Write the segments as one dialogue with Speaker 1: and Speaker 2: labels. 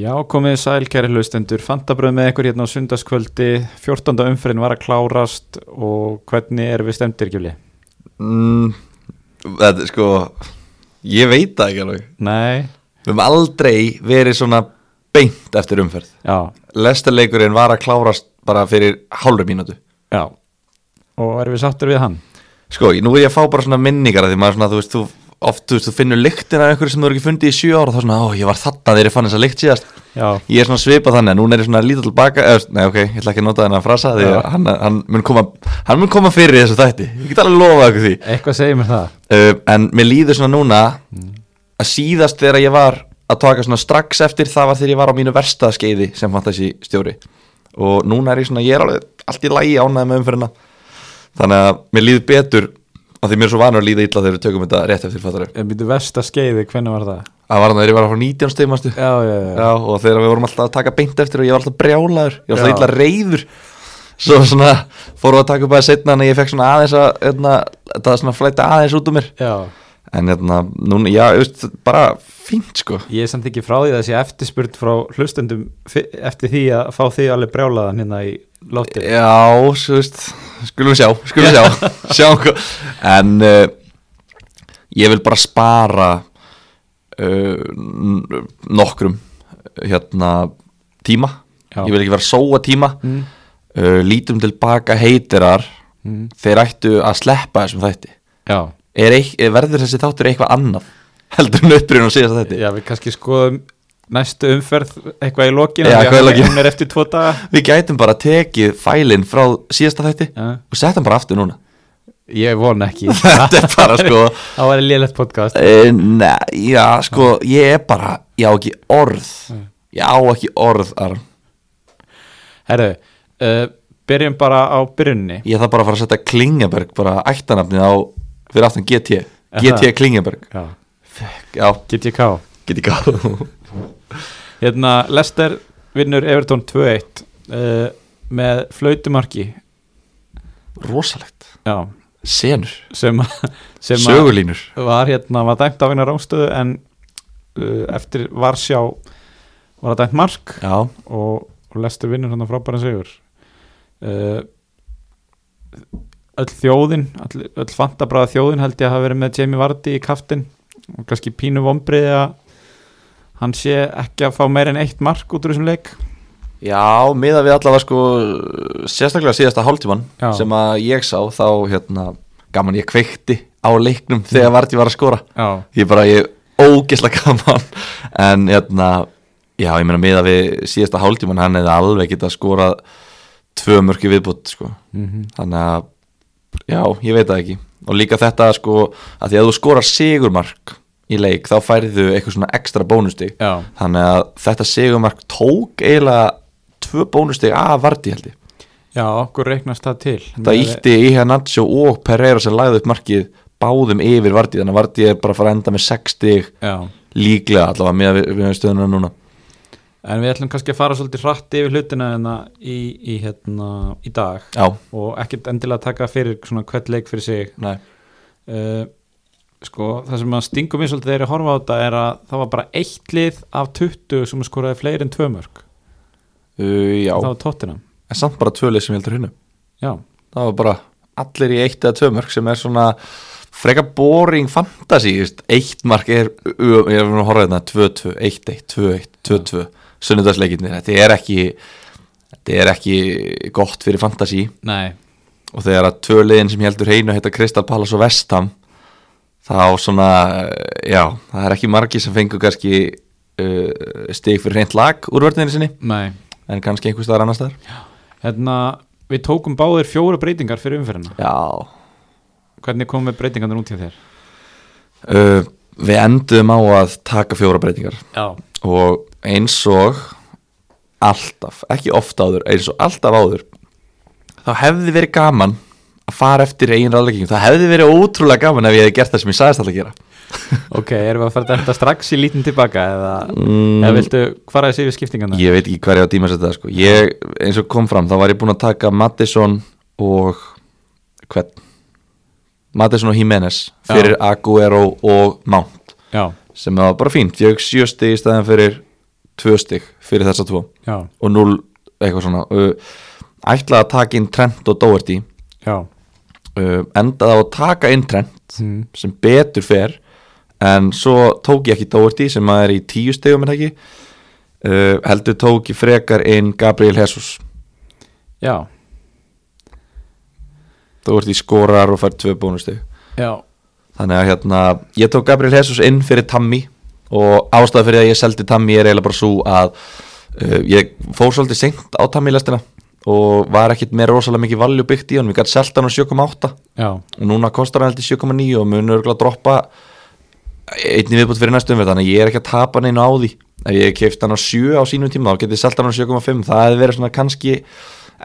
Speaker 1: Já, komið sæl, kæri hlustendur. Fantabröð með ykkur hérna á sundarskvöldi. 14. umferðin var að klárast og hvernig erum við stemdir, Gjúli?
Speaker 2: mm, Þetta er sko Ég veit það ekki alveg
Speaker 1: Nei,
Speaker 2: Við höfum aldrei verið svona beint eftir umferð
Speaker 1: já,
Speaker 2: Lestarleikurinn var að klárast bara fyrir hálfri mínútu
Speaker 1: já. Og erum við sáttur við hann?
Speaker 2: Sko, nú er ég að fá bara svona minningar af Því maður svona, þú veist, þú oft, þú veist, þú finnur lyktina af einhverju sem þú er ekki fundið í sjö ára og þá svona, ó, ég var þarna þegar ég fann þessa lykt síðast
Speaker 1: Já,
Speaker 2: Ég er svona svipað þannig að núna er ég svona að líta tilbaka eða, Nei, ok, ég ætla ekki að nota þennan frasa því
Speaker 1: Já.
Speaker 2: að hann, hann, mun koma, hann mun koma fyrir í þessu þætti Ég get alveg lofað ykkur því
Speaker 1: eitthvað segir mér það.
Speaker 2: uh, En mér líður svona núna að síðast þegar ég var að taka svona strax eftir það var þegar ég var á mínu versta skeiði sem fantasi stjóri og núna er ég svona, ég er alveg allt í lagi ánæði með umferðina þannig að mér líður betur af því mér er svo vanur að líða illa þegar við tökum þetta rétt eftir fattarum
Speaker 1: Ég byrju Eh, versta skeiði, hvernig var það?
Speaker 2: að var þannig þegar ég var að fá 19 stegmastu
Speaker 1: Já, já, já.
Speaker 2: Já, og þegar við vorum alltaf að taka beint eftir og ég var alltaf brjálaður, ég var alltaf
Speaker 1: Já.
Speaker 2: illa reyður svo svona fórum við að taka upp aðeins setna en ég fekk svona aðeins að hérna, þetta svona flæta aðeins út um mér
Speaker 1: Já,
Speaker 2: En hérna, núna, já, þú veist, bara fínt sko
Speaker 1: ég er samt ekki frá því að þessi eftirspurt frá hlustendum fi- eftir því að fá því alveg brjálaðan hérna í lóttir.
Speaker 2: Já, svo veist, skulum sjá, skulum sjá, sjá hvað En uh, ég vil bara spara uh, n- nokkrum, hérna, tíma
Speaker 1: Já.
Speaker 2: Ég vil ekki vera að sóa tíma
Speaker 1: Mm.
Speaker 2: uh, Lítum tilbaka heitirar,
Speaker 1: Mm.
Speaker 2: þeir ættu að sleppa þessum þætti
Speaker 1: Já,
Speaker 2: Er eik, Verður þessi þáttur eitthvað annað heldur en upprýðun og síðast þætti?
Speaker 1: já, við kannski skoðum næstu umferð eitthvað í lokinu.
Speaker 2: Já, eitthvað í lokin.
Speaker 1: Hún er eftir tvo daga.
Speaker 2: Við gætum bara tekið fælinn frá síðasta þætti
Speaker 1: Já.
Speaker 2: og sett hann bara aftur núna
Speaker 1: Ég von ekki
Speaker 2: Þetta er bara sko
Speaker 1: Það var lélegt podcast
Speaker 2: eh, Nei, já sko Ég er bara, ég á ekki orð Ég á ekki orð Aron.
Speaker 1: Herru, uh, byrjum bara á byrjunni
Speaker 2: Ég þarf bara að fara að setja Klingeberg bara ættanafnið á fyrir aftan GT
Speaker 1: Er
Speaker 2: GT
Speaker 1: það?
Speaker 2: Klingeberg
Speaker 1: Já.
Speaker 2: Já,
Speaker 1: GTK
Speaker 2: get ég gáð
Speaker 1: Hérna, Lester vinnur Everton 2-1 uh, með flautumarki
Speaker 2: Rosalegt
Speaker 1: Já,
Speaker 2: Senur,
Speaker 1: sem, að- sem að
Speaker 2: sögulínur
Speaker 1: var hérna, var dæmt af eina rángstöðu en uh, eftir Varsjá var það dæmt mark
Speaker 2: Já,
Speaker 1: og, og Lester vinnur hann frábæran sigur uh, öll þjóðin öll, öll fantabræða þjóðin held ég að hafa verið með Jamie Vardy í kaftin og kannski pínu vombriði að hann sé ekki að fá meir en eitt mark út úr þessum leik
Speaker 2: Já, miða við allavega sko sérstaklega síðasta hálftíman
Speaker 1: Já.
Speaker 2: sem að ég sá þá hérna gaman ég kveikti á leiknum þegar Vardí var að skora
Speaker 1: já,
Speaker 2: ég bara, ég ógisla gaman en hérna já, ég meina miða við síðasta hálftíman hann hefði alveg getað skorað tvö mörki viðbútt sko þannig að, já, ég veit það ekki og líka þetta sko að því að þú skorar sigurmark í leik þá færðu eitthvað svona ekstra bónustig
Speaker 1: já,
Speaker 2: Þannig að þetta sigumark tók eiginlega tvö bónusteg af Vardí held ég.
Speaker 1: já, okkur reiknast það til
Speaker 2: Það ítti í hér Nacho og Pereira sem lagði upp markið báðum yfir Vardí þannig að Vardí er bara að fara að enda með 6 stig
Speaker 1: já,
Speaker 2: líklega allavega með, með stöðuna núna.
Speaker 1: en við ætlum kannski að fara svolítið hratt yfir hlutina hérna í, í, hérna, í dag
Speaker 2: Já,
Speaker 1: og ekkert endilega taka fyrir svona hvert leik fyrir sig
Speaker 2: nei.
Speaker 1: uh, sko, það sem að stingum mér svolítið þegar ég horfa á þetta er að það var bara eitt lið af 20 sem skoraði fleiri en tvö mörg
Speaker 2: Uh, já,
Speaker 1: það var Tottenham
Speaker 2: en samt bara tvölið sem ég heldur húnum.
Speaker 1: já,
Speaker 2: Það var bara allir í eitt eða tvö mörk sem er svona freka boring fantasy, þú veist, eitt mark er, ö- ég er nú að horfa hérna, 2-2, 1-1, 2-1, 2-2, sunnudagsleikinni, þetta er ekki, þetta er ekki gott fyrir fantasy
Speaker 1: nei,
Speaker 2: og þegar að tvö liðin sem ég heldur heinu heita Crystal Palace og Vestham, þá svona, eh, já, það er ekki margi sem fengur kannski uh, stig fyrir hreint lag úr vörðinni sinni,
Speaker 1: nei
Speaker 2: en kannski einhvers staðar annars staðar.
Speaker 1: hérna, við tókum báðir fjóra breytingar fyrir umferðina
Speaker 2: Já,
Speaker 1: hvernig komum við breytingarnir út hjá þér?
Speaker 2: Uh, við endum á að taka fjóra breytingar
Speaker 1: já,
Speaker 2: og eins og alltaf, ekki ofta áður eins og alltaf áður þá hefði verið gaman að fara eftir eigin ráðleggingum, það hefði verið ótrúlega gaman ef ég hefði gert það sem ég sagðist alltaf að gera
Speaker 1: ok, erum við að fara þetta strax í lítin tilbaka eða,
Speaker 2: Mm.
Speaker 1: eða viltu fara þessi yfir skiptingarna?
Speaker 2: ég veit ekki hverja á tíma þetta sko. ég, eins og kom fram, þá var ég búinn að taka Mattisson og hvern Mattisson og Jimenez fyrir Aguero og Mount
Speaker 1: já,
Speaker 2: sem var bara fínt, ég hef sjö stig í staðan fyrir tvö stig fyrir þessa tvo
Speaker 1: já,
Speaker 2: og 0 eitthvað svona uh, ætlaði að taka inn Trent og Doherty
Speaker 1: já
Speaker 2: uh, endaði á að taka inn Trent
Speaker 1: mm.
Speaker 2: sem betur fer en svo tók ég ekki Doherty sem að er í tíu stegum en ekki uh, heldur tók ég frekar inn Gabriel Jesus
Speaker 1: já,
Speaker 2: Doherty skorar og fær tvö bónusteg
Speaker 1: já,
Speaker 2: þannig að hérna ég tók Gabriel Jesus inn fyrir Tammy og ástæða fyrir að ég seldi Tammy er eiginlega bara svo að uh, ég fór svolítið seint á Tammy lestina og var ekkit með rosalega mikið valju byggt í honum, ég gæti selta hann á 7,8
Speaker 1: já,
Speaker 2: og núna kostar hann heldur 7,9 og mun örgulega að droppa einni viðbútt fyrir næstum þannig að ég er ekki að tapa neina á því ef ég kefti hann á 7 á sínum tíma þá geti ég selta hann á 7,5 það hefði verið svona kannski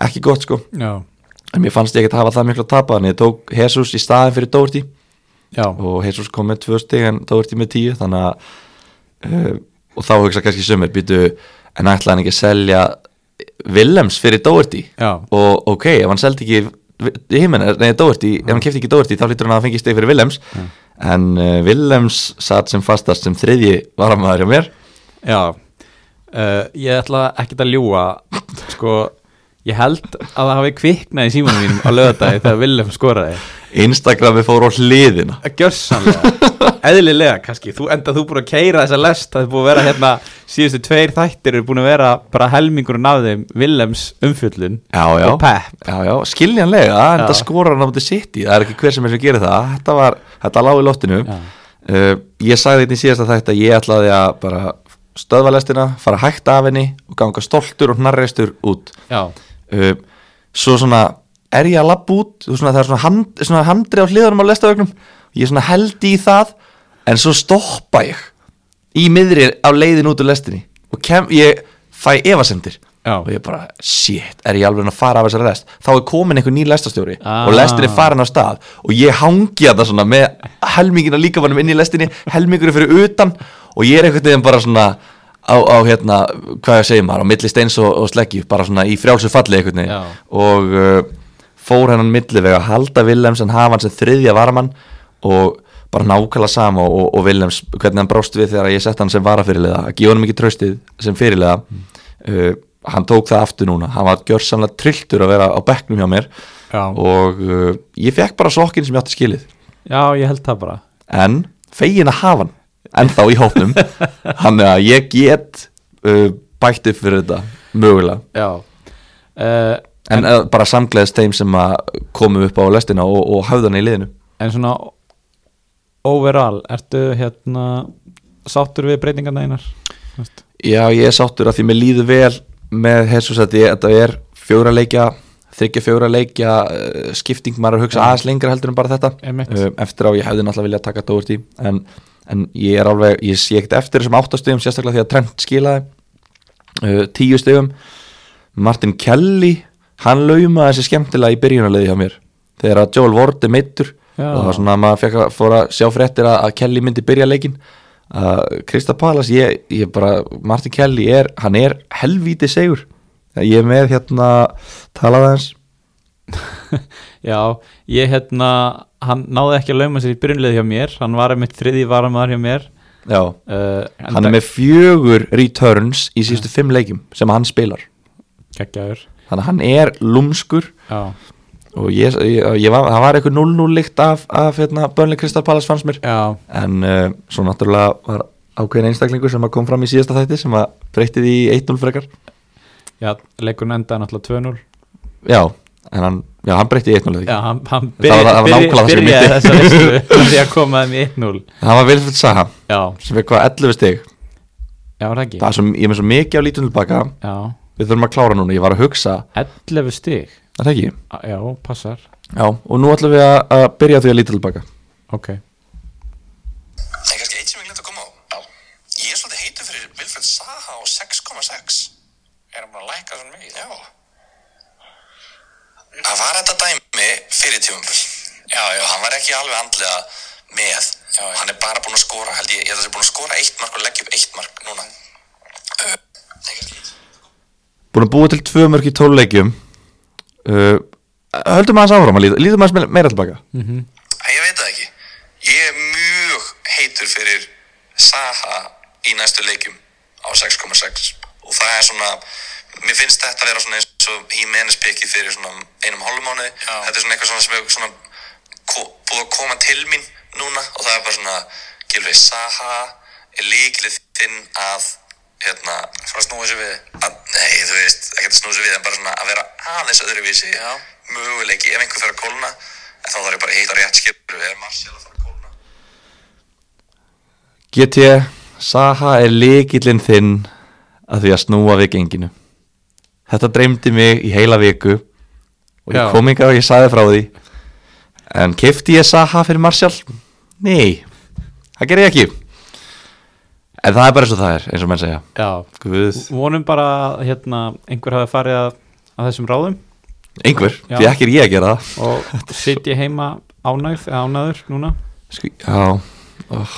Speaker 2: ekki gott sko
Speaker 1: já,
Speaker 2: en mér fannst ég ekki að hafa það miklu að tapa þannig að ég tók Jesus í staðin fyrir Doherty
Speaker 1: já,
Speaker 2: og Jesus kom með 2 stig en Doherty með 10 þannig að uh, og þá hugsa kannski sömur býtu en ætlaði hann ekki að selja Willems fyrir Doherty
Speaker 1: já,
Speaker 2: og ok, ef hann seldi ekki Jimenez, nei Doherty, ef hann
Speaker 1: Mm.
Speaker 2: kefti ekki Doherty þá lítur hann að fengi steg fyrir Willems en uh, Willems satt sem fastast sem þriðji varamæður hjá mér
Speaker 1: já. Uh, ég ætla ekki að ljúa sko, ég held að það hafi kviknað í símanum mínum á lögadagi þegar Willem skoraði
Speaker 2: Instagrami fór á hliðina
Speaker 1: Gjörsanlega, Eh, eðlilega kannski þú, Enda þú búin að keira þessa lest Það er búin að vera hérna síðustu tveir þættir eru búin að vera bara helmingurinn af þeim Willems umfjöllun
Speaker 2: Já, já,
Speaker 1: og Pep
Speaker 2: já, já, skiljanlega
Speaker 1: Já.
Speaker 2: en það skorar hann á mútið sitt í, það er ekki hver sem er sem gerir það þetta var, þetta lág í loftinu
Speaker 1: Já.
Speaker 2: uh, ég sagði þetta í síðasta þætt að ég ætlaði að bara stöðva lestina, fara hægt af henni og ganga stoltur og hnarreistur út
Speaker 1: Já,
Speaker 2: um, svo svona er ég að labba út og svona, það er svona, hand, svona handri á hliðarum á lestavögnum ég svona held í það en svo stoppa ég í miðri á leiðin út úr lestinni og kem, ég fæ efasemdir
Speaker 1: Já.
Speaker 2: og ég bara, shit, er ég alveg að fara af þessari lest þá er komin einhver ný lestastjóri
Speaker 1: Ah.
Speaker 2: og lestin er farin af stað og ég hangi að það svona með helmingina líkamannum inn í lestinni helmingurinn fyrir utan og ég er einhvern veginn bara svona á, á hérna, hvað ég segi maður á milli steins og, og sleggju, bara svona í frjálsu falli einhvern veginn
Speaker 1: Já.
Speaker 2: og uh, fór hennan milliveg að halda Willems en hafa hann sem þriðja varamann og bara nákvæmlega sama og, og Willems hvernig hann brást við þegar ég sett hann sem varafyrirlega að gefa hann mikið tröstið sem fyrirlega uh, hann tók það aftur núna hann var gjörsamlega trilltur að vera á bekknum hjá mér
Speaker 1: já,
Speaker 2: og uh, ég fekk bara sokkin sem ég átti skilið
Speaker 1: já, ég held það bara
Speaker 2: en fegin að hafa hann ennþá í hópnum hann er að ég get uh, bætt upp fyrir þetta mögulega
Speaker 1: Já uh,
Speaker 2: en, en eh, bara samgleðist þeim sem að komu upp á lestina og, og hafðan í liðinu
Speaker 1: En svona overall, ertu hérna sáttur við breytingarna einar? Þú veist?
Speaker 2: Já, ég er sáttur að því mér líður vel með Jesus að ég- þetta er fjóra leikja þryggja fjóra leikja uh, skipting maður er að hugsa
Speaker 1: Já.
Speaker 2: aðeins lengra heldur en bara þetta
Speaker 1: Einmitt.
Speaker 2: Eh, eftir á ég hefði náttúrulega viljað taka Doherty en, en ég er alveg, ég sé ekkert eftir þessum áttastöðum sérstaklega því að Trent skilaði uh, tíu stöðum Martin Kelly hann laumaði þessi skemmtilega í byrjunarleiði hjá mér þegar að Joel Ward er meittur
Speaker 1: Já.
Speaker 2: og það var svona að maður fekk að fóra að sjá fréttir að, að Kelly myndi byrja leikin að Krista Palas, ég, ég bara Martin Kelly er, hann er helvíti segur, ég er með hérna talaði hans
Speaker 1: Já, ég hérna hann náði ekki að lauma sér í byrjunlið hjá mér hann var einmitt þriði varamæður hjá mér
Speaker 2: já,
Speaker 1: uh,
Speaker 2: hann er með fjögur returns í síðustu fimm leikim sem hann spilar,
Speaker 1: Kekjaður
Speaker 2: þannig að hann er lúmskur
Speaker 1: Já,
Speaker 2: og ég, ég, ég var, það var eitthvað 0-0 líkt af, af hérna, Bönli Krista Palas fannst mér
Speaker 1: já,
Speaker 2: en uh, svo náttúrulega var ákveðin einstaklingur sem að kom fram í síðasta þætti sem að breytti því í 1-0 frekar
Speaker 1: já leikurinn endaði náttúrulega 2-0
Speaker 2: já, en hann, já, hann breytti í 1-0
Speaker 1: Já,
Speaker 2: þegar
Speaker 1: hann, hann
Speaker 2: Það var- það var nákvæmlega það sem ég
Speaker 1: byrjaði
Speaker 2: myndi.
Speaker 1: þessa veislu því að koma þeim í 1-0
Speaker 2: ekki. það var Vilfred Saha
Speaker 1: Já,
Speaker 2: sem fekk hvað 11 stig
Speaker 1: já, var það ekki
Speaker 2: það er svo, ég er með svo mikið á lítun tilbaka
Speaker 1: Já,
Speaker 2: við þurfum að klára núna, ég var að hugsa
Speaker 1: 11 stig
Speaker 2: er það ekki,
Speaker 1: A- Já, passar,
Speaker 2: já, og nú ætlum við að, að byrja á því að lítun tilbaka
Speaker 1: ok
Speaker 3: Það er kannski eitt sem ég glemt að koma á. Já. Ég er svolítið heitur fyrir Vilfred Saha á 6,6. Er hann bara að læka svona mikið? Já. Það var þetta dæmi fyrir tímumfjöld. Já, já. Og hann var ekki alveg andlega með. Já, já. Hann er bara búinn að skora, held ég. Ég held að það sé búinn að skora eitt mark og leggja upp eitt mark núna. Uh, það er kannski eitt.
Speaker 2: búin að búa til tvö mörg í tóluleikjum uh, höldum aðeins áfram að líta lítum aðeins me- meira tilbaka
Speaker 3: Æ, ég veit það ekki. Ég er mjög heitur fyrir Saha í næstu leikjum á á 6,6 og það er svona mér finnst þetta að vera svona eins og Jimenez pikið fyrir svona einum hálfumánuði
Speaker 4: Já.
Speaker 3: þetta er svona eitthvað svona sem hefur svona ko- búið að koma til mín núna og það er bara svona Gilvi Saha er líklið þinn að hérna
Speaker 4: Fara að snúa þessu við.
Speaker 3: að, nei þú veist, ekkert að snúsa við en bara svona að vera aðeins öðruvísi
Speaker 4: Já.
Speaker 3: möguleiki ef einhver fer að kólna en þá þarf ég bara að heita rétt skipur við erum Marcial að fara að kólna
Speaker 2: GT, Saha er líkillinn þinn að því að snúa við genginu Þetta dreymdi mig í heila viku og ég
Speaker 1: Já.
Speaker 2: kom ykkar og ég saði frá því En kefti ég Saha fyrir Marshall? Nei, það gerði ég ekki En það er bara eins og það er, eins og menn segja
Speaker 1: Já,
Speaker 2: Guð,
Speaker 1: vonum bara að hérna, einhver hafi farið að, að þessum ráðum
Speaker 2: einhver,
Speaker 1: Já.
Speaker 2: því ekki er ég að gera það
Speaker 1: og sitja heima ánægð eða ánæður núna
Speaker 2: Sku, Sko, Já, oh,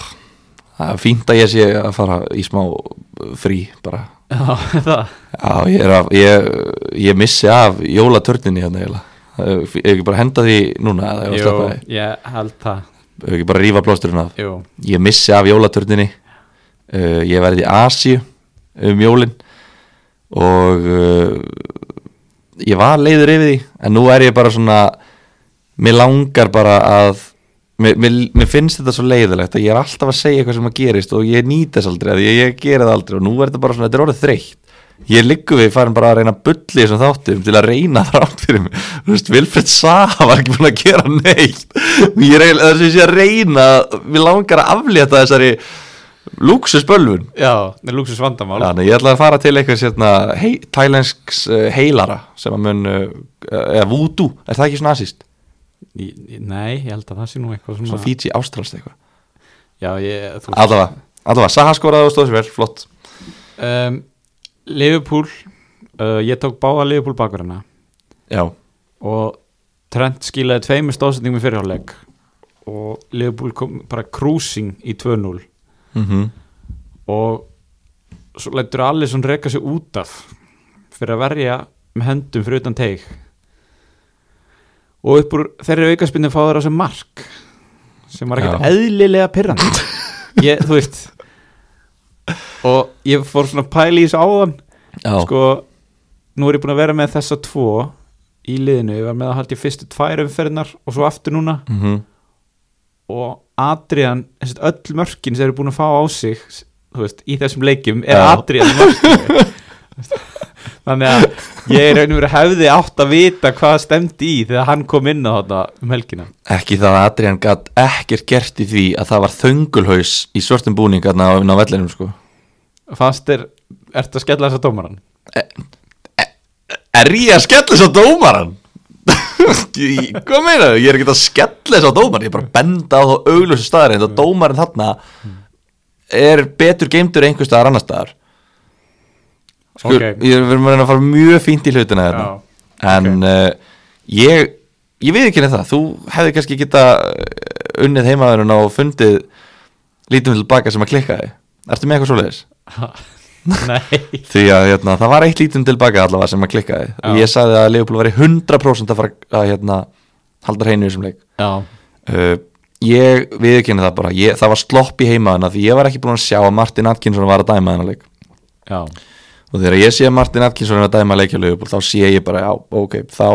Speaker 2: það er fínt að ég sé að fara í smá uh, frí bara
Speaker 1: Já, það
Speaker 2: Já, ég, er af, ég, ég missi af jólatörninni hérna eiginlega Ef ef ekki bara henda því núna eða ef að
Speaker 1: Jú,
Speaker 2: sleppa því?
Speaker 1: ég held það
Speaker 2: Ef ekki bara rífa blósturinn af
Speaker 1: Jú,
Speaker 2: Ég missi af jólatörninni uh, Ég verði í Asíu um jólin og uh, ég var leiður yfir því en nú er ég bara svona mér langar bara að mér, mér, mér finnst þetta svo leiðilegt að ég er alltaf að segja eitthvað sem að gerist og ég nýt þess aldrei að ég, ég gera það aldrei og nú er þetta bara svona, þetta er orðið þreytt ég liggu við farin bara að reyna að bulli þessum þáttum til að reyna þrátt fyrir mig þú veist, Vilfred Saha var ekki búin að gera neitt og ég reyna, þess að ég sé að reyna mér langar að aflétta þessari lúksusbölvun
Speaker 1: já, það er lúksus vandamál
Speaker 2: Þannig að ég ætla að fara til einhvers hérna, hei, tælensks uh, heilara sem að mun, uh, eða vúdú, er það ekki svona asist?
Speaker 1: Í- í- Nei, ég held að það sé nú eitthvað
Speaker 2: Svona
Speaker 1: svona
Speaker 2: Fiji, Ástralst eitthvað.
Speaker 1: Já, ég, þú
Speaker 2: Allavega, allavega, Saha skoraði og stóð sér vel, flott.
Speaker 1: um, Liverpool uh, Ég tók báða Liverpool bakverðina
Speaker 2: Já,
Speaker 1: og Trent skilaði tveimur stóðsendingum í fyrirháleik og Liverpool kom bara cruising í 2-0
Speaker 2: mm
Speaker 1: og svo lætur Alisson reka sig út af fyrir að verja með hendum fyrir utan teig og upp úr þeirri aukaspinni fá þeir á sem mark sem var ekkert
Speaker 2: Já.
Speaker 1: eðlilega pirrand ég, þú veist og ég fór svona pæli í þessu áðan
Speaker 2: já,
Speaker 1: sko, nú er ég búin að vera með þessa tvo í liðinu, ég var með að haldi fyrstu tvær umferðinar og svo aftur núna
Speaker 2: mm
Speaker 1: og Adrian, þessi öll mörkin sem eru búin að fá á sig þú veist, í þessum leikjum er
Speaker 2: Já.
Speaker 1: Adrian í mörkinu þannig að ég er raunum verið hefði átt að vita hvað stemdi í þegar hann kom inn á þetta um helgina
Speaker 2: ekki það að Adrian gatt ekkert gert í því að það var þöngulhaus í svörtum búningarna á, á vellinum, sko.
Speaker 1: fannst þér, ertu að skella þess að dómaran
Speaker 2: Er ég að skella þess á dómaran? Ég- Hvað meina þau? Ég er ekki að skella þess á dómaran Ég er bara að benda á þá auglösu staðarinn
Speaker 1: Mm.
Speaker 2: að dómarin þarna er betur geimdur einhver staðar annar staðar Skur,
Speaker 1: Ok.
Speaker 2: Ég er verið að reyna að fara mjög fínt í hlutina þarna
Speaker 1: Já,
Speaker 2: En uh, ég ég við ekki það, þú hefði kannski geta uh, unnið heimaðurinn og fundið lítum til baka sem að klikkaði Ertu með eitthvað svoleiðis?
Speaker 1: nei,
Speaker 2: Því að hérna, það var eitt lítum tilbaka allavega sem að klikkaði og
Speaker 1: Já.
Speaker 2: ég sagði að Leopold væri 100% að fara að hérna, halda hreinu í þessum leik
Speaker 1: já,
Speaker 2: uh, Ég viðkynni það bara ég, það var slopp í heimaðina því ég var ekki búin að sjá að Martin Atkinson var að dæma þennan leik
Speaker 1: já
Speaker 2: og þegar ég sé að Martin Atkinson er að dæma leikja Leopold þá sé ég bara, já, ok þá,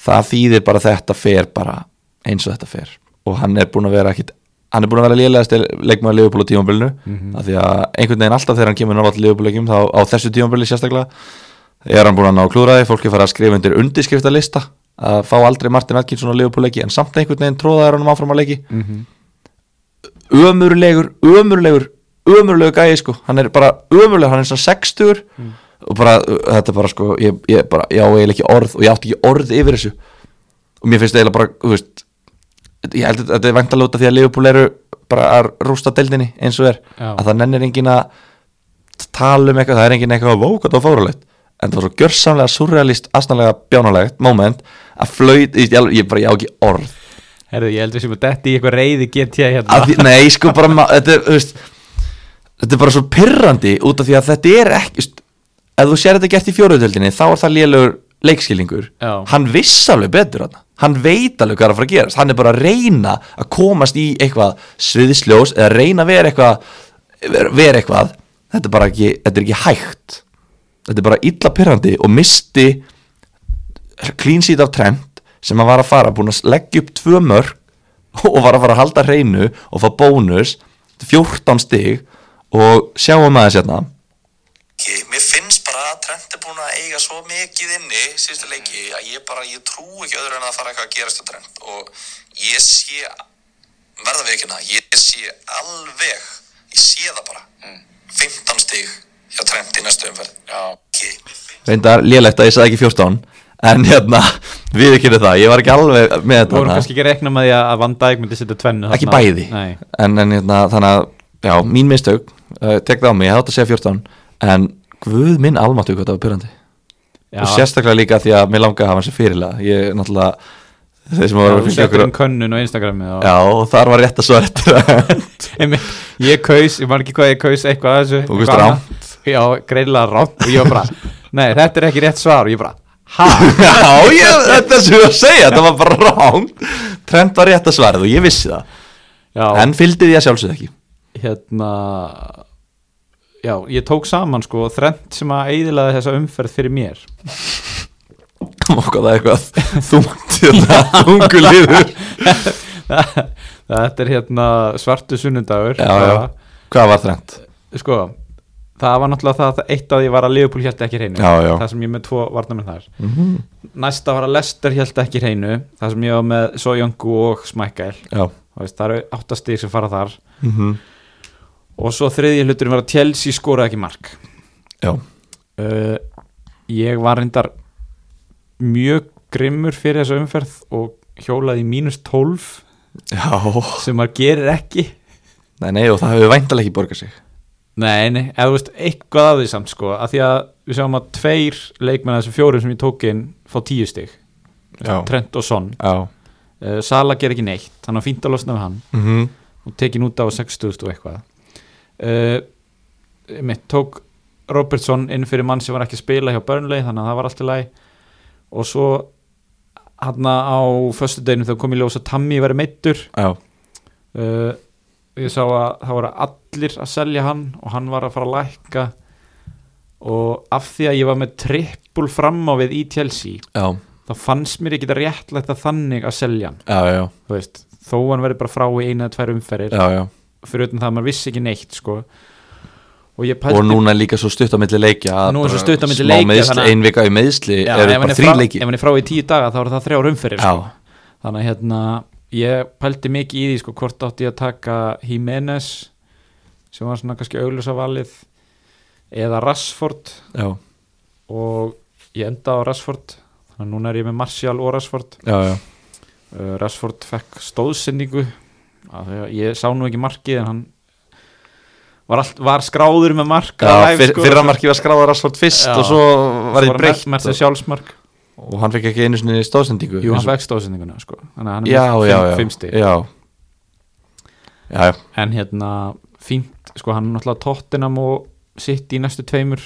Speaker 2: það þýðir bara að þetta fer bara eins og þetta fer og hann er búin að vera ekkit hann er búin að vera lélegast leikmaður Leopold á tímambilinu af því að einhvern veginn alltaf þegar hann kemur nála til Leopold-leikjum þá á þessu tímambili sérstaklega er hann búin að ná klúraði, fólk er farið að skrifa undir undirskriftalista að fá aldrei Martin Atkinson á Leopold-leiki en samt einhvern veginn tróðaður hann áfram að leiki ömurlegur, ömurlegur ömurlegur gæi sko, hann er bara ömurlegur, hann er svona 60 og bara, uh, þetta er bara sko ég, ég bara, já, eiginlega ekki orð og ég átti ekki orð yfir þessu og mér finnst eiginlega bara, þú veist ég held að þetta er vænt að lóta því að Liverpool eru bara að rústa deildinni eins og er
Speaker 1: Já.
Speaker 2: að það nennir engin að tala um eitthvað, það er engin eitthvað að vóka þetta fórulegt en það var svo gjörsamlega surrealist, astanlega bjánalegt moment að flöyt, ég, ég bara, ég á ekki orð
Speaker 1: herðu, ég heldur sem að detti í eitthvað reyði GT hérna
Speaker 2: að því, nei sko bara ma- þetta er, þú veist, þetta er bara svo pirrandi út af því að þetta er ekki þú veist, ef þú sér þetta gert í fjóruðöldinni þá er það lélegur leikskilingur
Speaker 1: Já.
Speaker 2: hann viss alveg betur hann hann veit alveg hvað er að fara að gerast hann er bara að reyna að komast í eitthvað sviðisljós eða reyna að vera eitthvað vera, vera eitthvað þetta er bara ekki, þetta er ekki hægt þetta er bara illa pyrrandi og misti clean sheet af trend sem hann var að fara búin að leggja upp tvö mörg og var að fara að halda hreinu og fá bónus 14 stig og sjáum aðeins hérna
Speaker 3: Ég, mér finnst bara að Trent er búin að eiga svo mikið inni síðustu leiki að ég bara, ég trú ekki öðru en að það er eitthvað að gerast á Trent og ég sé verða við ekki hérna, ég sé alveg ég sé það bara 15 stig hjá Trent í næstu umferð Mm. Já
Speaker 2: reyndar lélegt að ég sagði ekki 14 en hérna, við ekki það ég var ekki alveg með
Speaker 1: Þú
Speaker 2: þetta
Speaker 1: vorum
Speaker 2: þarna.
Speaker 1: kannski ekki að rekna með því að Van Dijk myndi setja tvennu
Speaker 2: ekki
Speaker 1: þarna.
Speaker 2: bæði
Speaker 1: Nei,
Speaker 2: en, en hérna, þannig að já, mín mistök, uh, tek það á mig, ég þátt að segja 14 en guð minn almáttu hvað það var pyrrandi
Speaker 1: já,
Speaker 2: og sérstaklega líka því að mér langaði að hafa hans fyrirlega ég náttúrulega þeir sem
Speaker 1: já,
Speaker 2: voru að
Speaker 1: þú
Speaker 2: fylgja
Speaker 1: setur
Speaker 2: okkur
Speaker 1: um könnun og Instagrami og
Speaker 2: já og þar var rétt að svara þetta
Speaker 1: Einmitt, ég kaus, ég man ekki hvað ég kaus eitthvað að þessu
Speaker 2: Þú kaust
Speaker 1: eitthvað annað. Já, greinilega rámt og ég var bara, nei þetta er ekki rétt svar og ég bara, ha?
Speaker 2: já ég, þetta er sem ég var að segja þetta var bara rán trend var rétt að svara og ég vissi það
Speaker 1: Já,
Speaker 2: en fylgdi því að sjálfsögð ekki
Speaker 1: hérna já, ég tók saman sko þrend sem að eiðilaði þessa umferð fyrir mér
Speaker 2: kom okkur það er eitthvað þungt hérna, þungu liður
Speaker 1: þetta er hérna svartu sunnudagur
Speaker 2: já já hvað var trend
Speaker 1: sko, það var náttúrulega það, það eitt að ég var að Liverpool held ekki hreinu
Speaker 2: Já, Mhm. já.
Speaker 1: það sem ég er með tvo varnamenn þar næsta var að Lester held ekki hreinu það sem ég var með Sojangu og Smækæl
Speaker 2: já
Speaker 1: það eru áttastýr sem fara þar
Speaker 2: mm
Speaker 1: Mhm. og svo þriðji hluturinn var að Chelsea skoraði ekki mark
Speaker 2: já
Speaker 1: uh, ég var reyndar mjög grimmur fyrir þessu umferð og hjólaði í mínus 12
Speaker 2: já
Speaker 1: sem maður gerir ekki
Speaker 2: nei nei og það hefur væntalega ekki borgað sig
Speaker 1: Nei, nei, eða þú veist, eitthvað af því samt sko, að því að við sjáum að tveir leikmenn af þessum fjórum sem ég tók inn fá tíu stig,
Speaker 2: já
Speaker 1: Trent og Son
Speaker 2: já
Speaker 1: uh, Sala ger ekki neitt, þannig að fínt að losna við hann
Speaker 2: mm
Speaker 1: og tekin út á 60 og eitthvað uh, mitt tók Robertson inn fyrir mann sem var ekki að spila hjá Burnley, þannig að það var allt í lagi og svo hann á föstu deginu þegar kom í ljós að Tammy verið meittur
Speaker 2: já
Speaker 1: uh, ég sá að það voru allir að selja hann og hann var að fara að lækka og af því að ég var með trippul fram á við í Chelsea
Speaker 2: já
Speaker 1: þá fannst mér ekki réttlætt að þannig að selja hann
Speaker 2: já já
Speaker 1: þú veist, þó hann verið bara frá í eina eða tvær umferðir
Speaker 2: já já
Speaker 1: fyrir utan það að maður vissi ekki neitt sko. og ég
Speaker 2: og
Speaker 1: pælti
Speaker 2: núna líka svo stutt á milli leikja að
Speaker 1: Nú er svo
Speaker 2: bara
Speaker 1: stutt á milli
Speaker 2: smá
Speaker 1: leikja,
Speaker 2: meiðsli,
Speaker 1: þannig að-
Speaker 2: ein vika í meðsli
Speaker 1: Já,
Speaker 2: eru
Speaker 1: ef hann
Speaker 2: bara
Speaker 1: er
Speaker 2: þrý
Speaker 1: frá-
Speaker 2: leiki
Speaker 1: ef hann er frá í tíu daga þá eru það þrjár umferðir
Speaker 2: já,
Speaker 1: sko. þannig að hérna ég pælti mikið í því sko hvort átti ég að taka Jiménez sem var svona kannski augljósa valið eða Rashford
Speaker 2: já,
Speaker 1: og ég enda á Rashford þannig að núna er ég með Martial og Rashford
Speaker 2: já, já,
Speaker 1: uh, Rashford fekk stóðsendingu Af því að ég sá nú ekki markið en hann var, allt, var skráður með mark sko.
Speaker 2: já fyr, fyrra marki var skráðar Rashford fyrst
Speaker 1: Já.
Speaker 2: og svo var
Speaker 1: var
Speaker 2: þið breytt
Speaker 1: með þessi sjálfsmark
Speaker 2: og hann fekk ekki einu sinni stóðsendingu
Speaker 1: Jú,
Speaker 2: Eins
Speaker 1: hann
Speaker 2: og-
Speaker 1: fekk stóðsendinguna sko. þannig að hann
Speaker 2: já,
Speaker 1: er með
Speaker 2: já,
Speaker 1: fimm-
Speaker 2: já,
Speaker 1: fimm stig
Speaker 2: já já, já,
Speaker 1: en hérna fínt, sko hann er náttúrulega tóttinam og sitt í næstu tveimur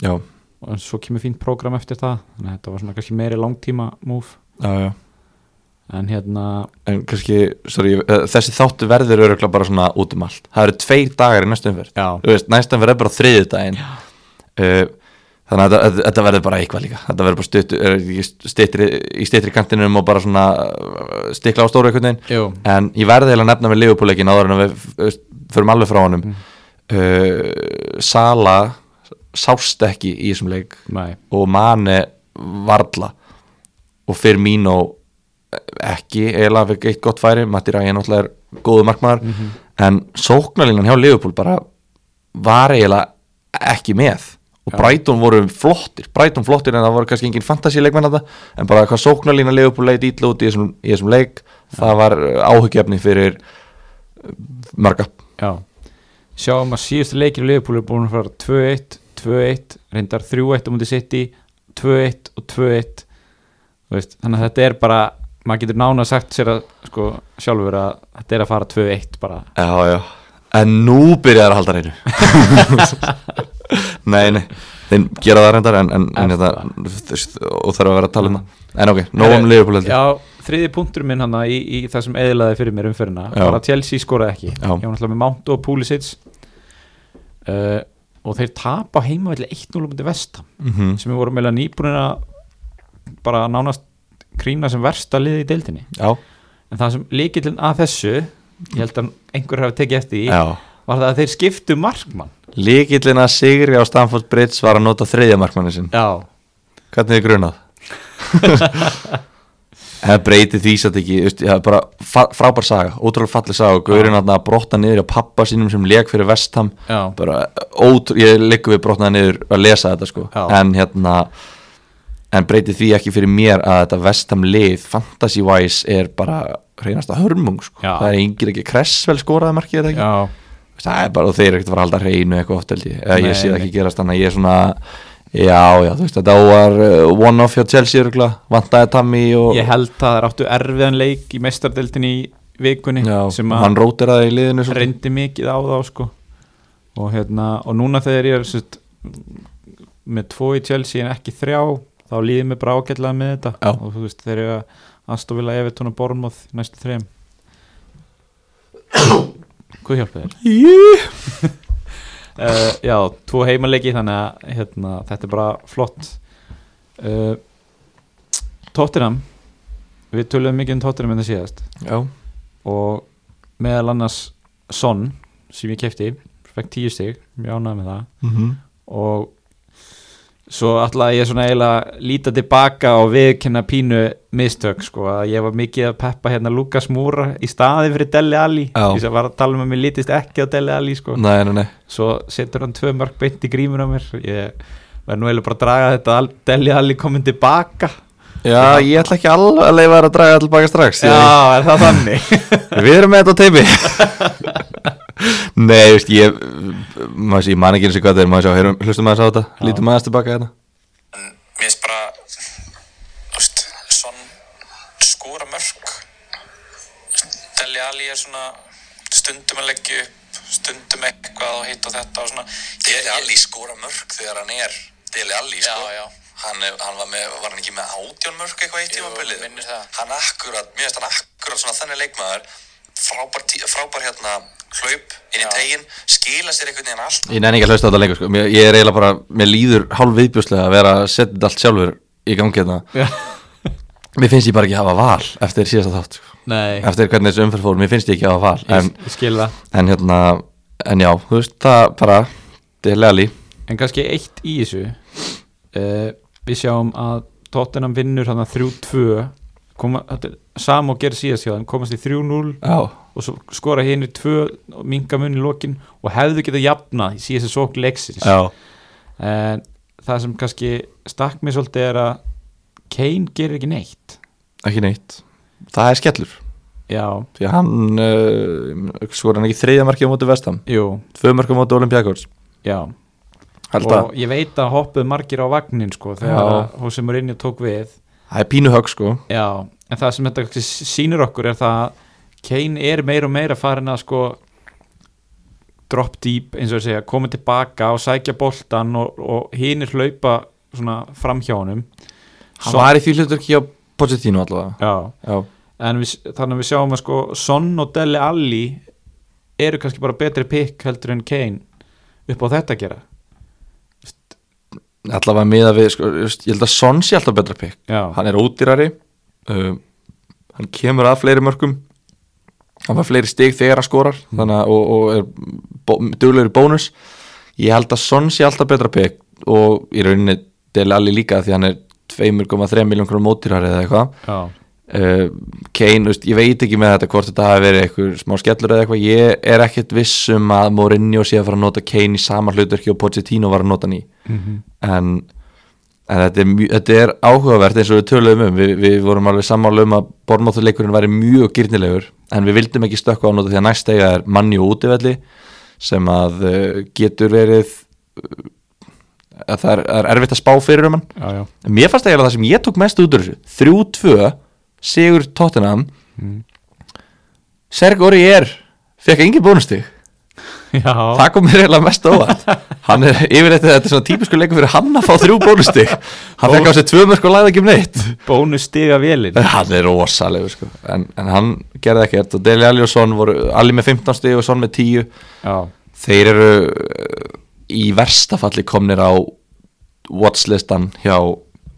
Speaker 2: já,
Speaker 1: og svo kemur fínt prógram eftir það þannig að þetta var svona kannski meiri langtíma múf
Speaker 2: já, já.
Speaker 1: en hérna,
Speaker 2: en kannski, sorry, ég- eh, þessi þáttu verður öruglega bara svona út um allt það eru tveir dagar í næstu umferð
Speaker 1: já,
Speaker 2: Þú veist, næstu umferð er bara þriði daginn uh, þannig að þetta- þetta verður bara eitthvað líka þetta verður bara stutt, er, í styttri í styttri kantinum og bara svona eh, stikla á stóru einhvern veginn
Speaker 1: jú
Speaker 2: en ég verði eiginlega að nefna með Liverpool-leikin áður en við eh, förum alveg frá honum uh, Sala sást ekki í þessum leik
Speaker 1: nei,
Speaker 2: og Mane varla og Firmino ekki, eiginlega fikk eitt gott færi Matti Ræði náttúrulega er góðu markmaður en sóknarlinnan hjá Liverpool bara var eiginlega ekki með og Brighton voru flottir Brighton flottir en það voru kannski engin fantasíleikmenn þetta en bara hvað sóknarlinnan Liverpool leit ítla út í þessum, í þessum leik það var áhugjefni fyrir eh, marga
Speaker 1: já sjáum að síðustu leikir í Liverpool er búin að fara 2-1, 2-1 reyndar 3-1 á múti sitt í 2-1 og 2-1 Þú veist, þannig að þetta er bara maður getur nána sagt sér að sko, sjálfur að þetta er að fara 2-1 bara
Speaker 2: Já, já En nú byrjaði að halda reynu Nei, nei Þeim gera það reyndar en, en, en
Speaker 1: Er
Speaker 2: þetta, og þarf að vera að tala um það En ok, nóg um
Speaker 1: Herru,
Speaker 2: Liverpool heldur
Speaker 1: Já, þriði punktur minn hann í, í það sem eðlaði fyrir mér umferðina
Speaker 2: Já.
Speaker 1: var að Chelsea skoraði ekki Ég
Speaker 2: Já.
Speaker 1: var náttúrulega með Mount og Pulisic uh, og þeir tapa heimavelli 1-0 um þetta vestam
Speaker 2: mm -hmm.
Speaker 1: sem við vorum meðlega nýbúin að bara nánast krýna sem versta liði í deildinni
Speaker 2: Já,
Speaker 1: en það sem líkillin að þessu ég held að einhver hafi tekið eftir í
Speaker 2: já
Speaker 1: var það að þeir skiptu markmann
Speaker 2: Líkillin að Sigri á Stamford Bridge var að nota þriðja markmanni sinn
Speaker 1: já,
Speaker 2: Hvernig er grunað? Það breytir því satt ekki, veist, það er bara fa- frábær saga, ótrúlega falleg saga og Gaurinn þarna að brotna niður á pappa sínum sem leik fyrir vestam
Speaker 1: já,
Speaker 2: bara, ótrú, ég liggur við brotnaði niður að lesa þetta sko
Speaker 1: Já.
Speaker 2: en hérna en breytir því ekki fyrir mér að þetta vestam lið fantasy wise er bara reynast að hörmung sko
Speaker 1: Já.
Speaker 2: það er engin ekki kressvel skoraði markið er það ekki
Speaker 1: já,
Speaker 2: það er bara og þeir eru ekkert að fara að halda hreinu eitthvað oft held ég, Eða
Speaker 1: Nei,
Speaker 2: ég sé það ekki
Speaker 1: nei.
Speaker 2: gerast þannig að ég er svona já já þú veist þetta var uh, one off hjá Chelsea örgla vantaði Tammy og
Speaker 1: ég held að það er áttu erfiðan leik í mestardeldinni í vikunni
Speaker 2: já,
Speaker 1: sem að
Speaker 2: hann rótir í liðinu svolítið.
Speaker 1: reyndi mikið á þá sko. og hérna og núna þegar ég er sett, með tvo í Chelsea en ekki þrjá þá líði mér bara ágætlega með þetta
Speaker 2: Já.
Speaker 1: og þú veist þegar ég aðstofila Evertón og Bormóð næstu þrejum Hvað hjálpa þér? uh, já, tvo heimaleiki þannig að hérna, þetta er bara flott uh, Tottenham við töluðum mikið um Tottenham en það síðast
Speaker 2: já,
Speaker 1: og meðal annars Son sem ég kefti fekk tíu stig, mjög ánægð með það
Speaker 2: mm
Speaker 1: og svo ætlaði ég svona eiginlega líta tilbaka og viðkynna pínu mistök sko að ég var mikið að peppa hérna Lukas Múra í staði fyrir Deli Alli
Speaker 2: Já.
Speaker 1: því sem var að tala um að mér lítist ekki á Deli Alli sko
Speaker 2: nei nei nei
Speaker 1: svo setur hann tvö mörg beint í grímur á mér ég verð nú eiginlega bara að draga þetta Al- Deli Alli komin tilbaka
Speaker 2: já ég ætla ekki alveg að leifa þér að draga allir baka strax ég-
Speaker 1: Já, er það þannig?
Speaker 2: Við erum með þetta á teipi Nei, veist, ég maður sé, ég man ekki eins og hvað það er maður sé, heyrum, hlustum aðeins á þetta, lítum aðeins tilbaka hérna
Speaker 3: en mér finnst bara þú veist, svon skora mörg Deli Ali er svona stundum að leggja upp stundum eitthvað og hitt og þetta og svona Deli Ali skora mörg þegar hann er Deli Ali sko já, já. Hann, er, hann var með, var hann ekki með átján mörg eitthvað eitt tímabilið hann akkurat, mér finnst hann akkurat svona þannig leikmaður frábær, tí- frábær hérna hlaup inn í tegin skila sér einhvern veginn allt
Speaker 2: Ég nenni ekki að hlusta á þetta lengur, sko, mér, ég er eiginlega bara mér líður hálf viðbjóslega að vera að setja þetta allt sjálfur í gangi hérna Mér finnst ég bara ekki hafa val eftir síðasta þátt, sko.
Speaker 1: Nei,
Speaker 2: eftir hvernig þessu umferð fór mér finnst ég ekki hafa val, en,
Speaker 1: ég ég skil það
Speaker 2: en hérna en já, þú veist, það bara þetta er lega lí,
Speaker 1: En kannski eitt í þessu uh, Við sjáum að Tottenham vinnur hann að 3-2 Koma- þetta er Sam og ger síðast hjá þeim komast í 3-0
Speaker 2: já,
Speaker 1: og svo skora hinn í 2 og minga mun í lokin og hefðu getað jafna í síðast sók leiksins
Speaker 2: já
Speaker 1: en það sem kannski stakk mér svolítið er að Kane gerir ekki neitt
Speaker 2: ekki neitt, það er skellur
Speaker 1: Já,
Speaker 2: því að hann uh, skor hann ekki þriðja markið á móti vestam
Speaker 1: jú,
Speaker 2: tvö markið á móti Olympiakos
Speaker 1: já
Speaker 2: held að
Speaker 1: og ég veit að hoppuð margir á vagnin sko þegar hún sem er inni tók við
Speaker 2: það er pínu högg sko
Speaker 1: Já, en það sem þetta kannski sýnir okkur er það að Kane er meira og meira farin að sko drop deep eins og að segja, koma tilbaka og sækja boltan og, og hinir hlaupa svona framhjá honum
Speaker 2: hann
Speaker 1: Son-
Speaker 2: var í því hlutur ekki á Pochettino allavega
Speaker 1: Já,
Speaker 2: já,
Speaker 1: en við, þannig að við sjáum að sko Son og Dele Alli eru kannski bara betri pick heldur en Kane upp á þetta að gera
Speaker 2: allavega miða við sko, just, ég held að Son sé alltaf betra pikk
Speaker 1: Já,
Speaker 2: hann er ódýrari uh, hann kemur að fleiri mörgum hann var fleiri stig þegar að skorar þannig að og, og er bó, duglegur í bónus ég held að Son sé alltaf betra pikk og í rauninni Dele Alli líka því hann er 2,3 miljón krónum ódýrari eða eitthvað
Speaker 1: já,
Speaker 2: uh, Kane, þú veist, ég veit ekki með þetta hvort þetta hafi verið einhver smá skellur eða eitthvað ég er ekkert viss um að Mourinho sé að fara að nota Kane í sama hlutverki og Pochettino var að nota hann í en, en þetta, er mjö, þetta er áhugavert eins og við töluðum um við, við vorum alveg sammála um að Bormóttuleikurinn væri mjög gyrnilegur en við vildum ekki stökkva á nota því að næst eiga er manni og útivelli sem að uh, getur verið uh, að það er, það er erfitt að spá fyrir um hann
Speaker 1: já, já,
Speaker 2: En Mér fannst eiginlega það sem ég tók mest út úr þessu 3-2 Sigur Tottenham Serg Aurier Fekk engin bónustig
Speaker 1: já,
Speaker 2: Það kom mér eiginlega mest á óvart Hann er yfirleitt þetta er svona típisku leikur fyrir hann að fá þrjú bónustig Hann fekk á sig tvö mörg og lagði ekki um neitt
Speaker 1: bónus stiga vélin
Speaker 2: Hann er rosalegur sko en, en hann gerði ekkert og Deli Alli og Son voru Alli með 15 stig og Son með 10
Speaker 1: Já,
Speaker 2: Þeir eru uh, í versta falli komnir á watchlistan hjá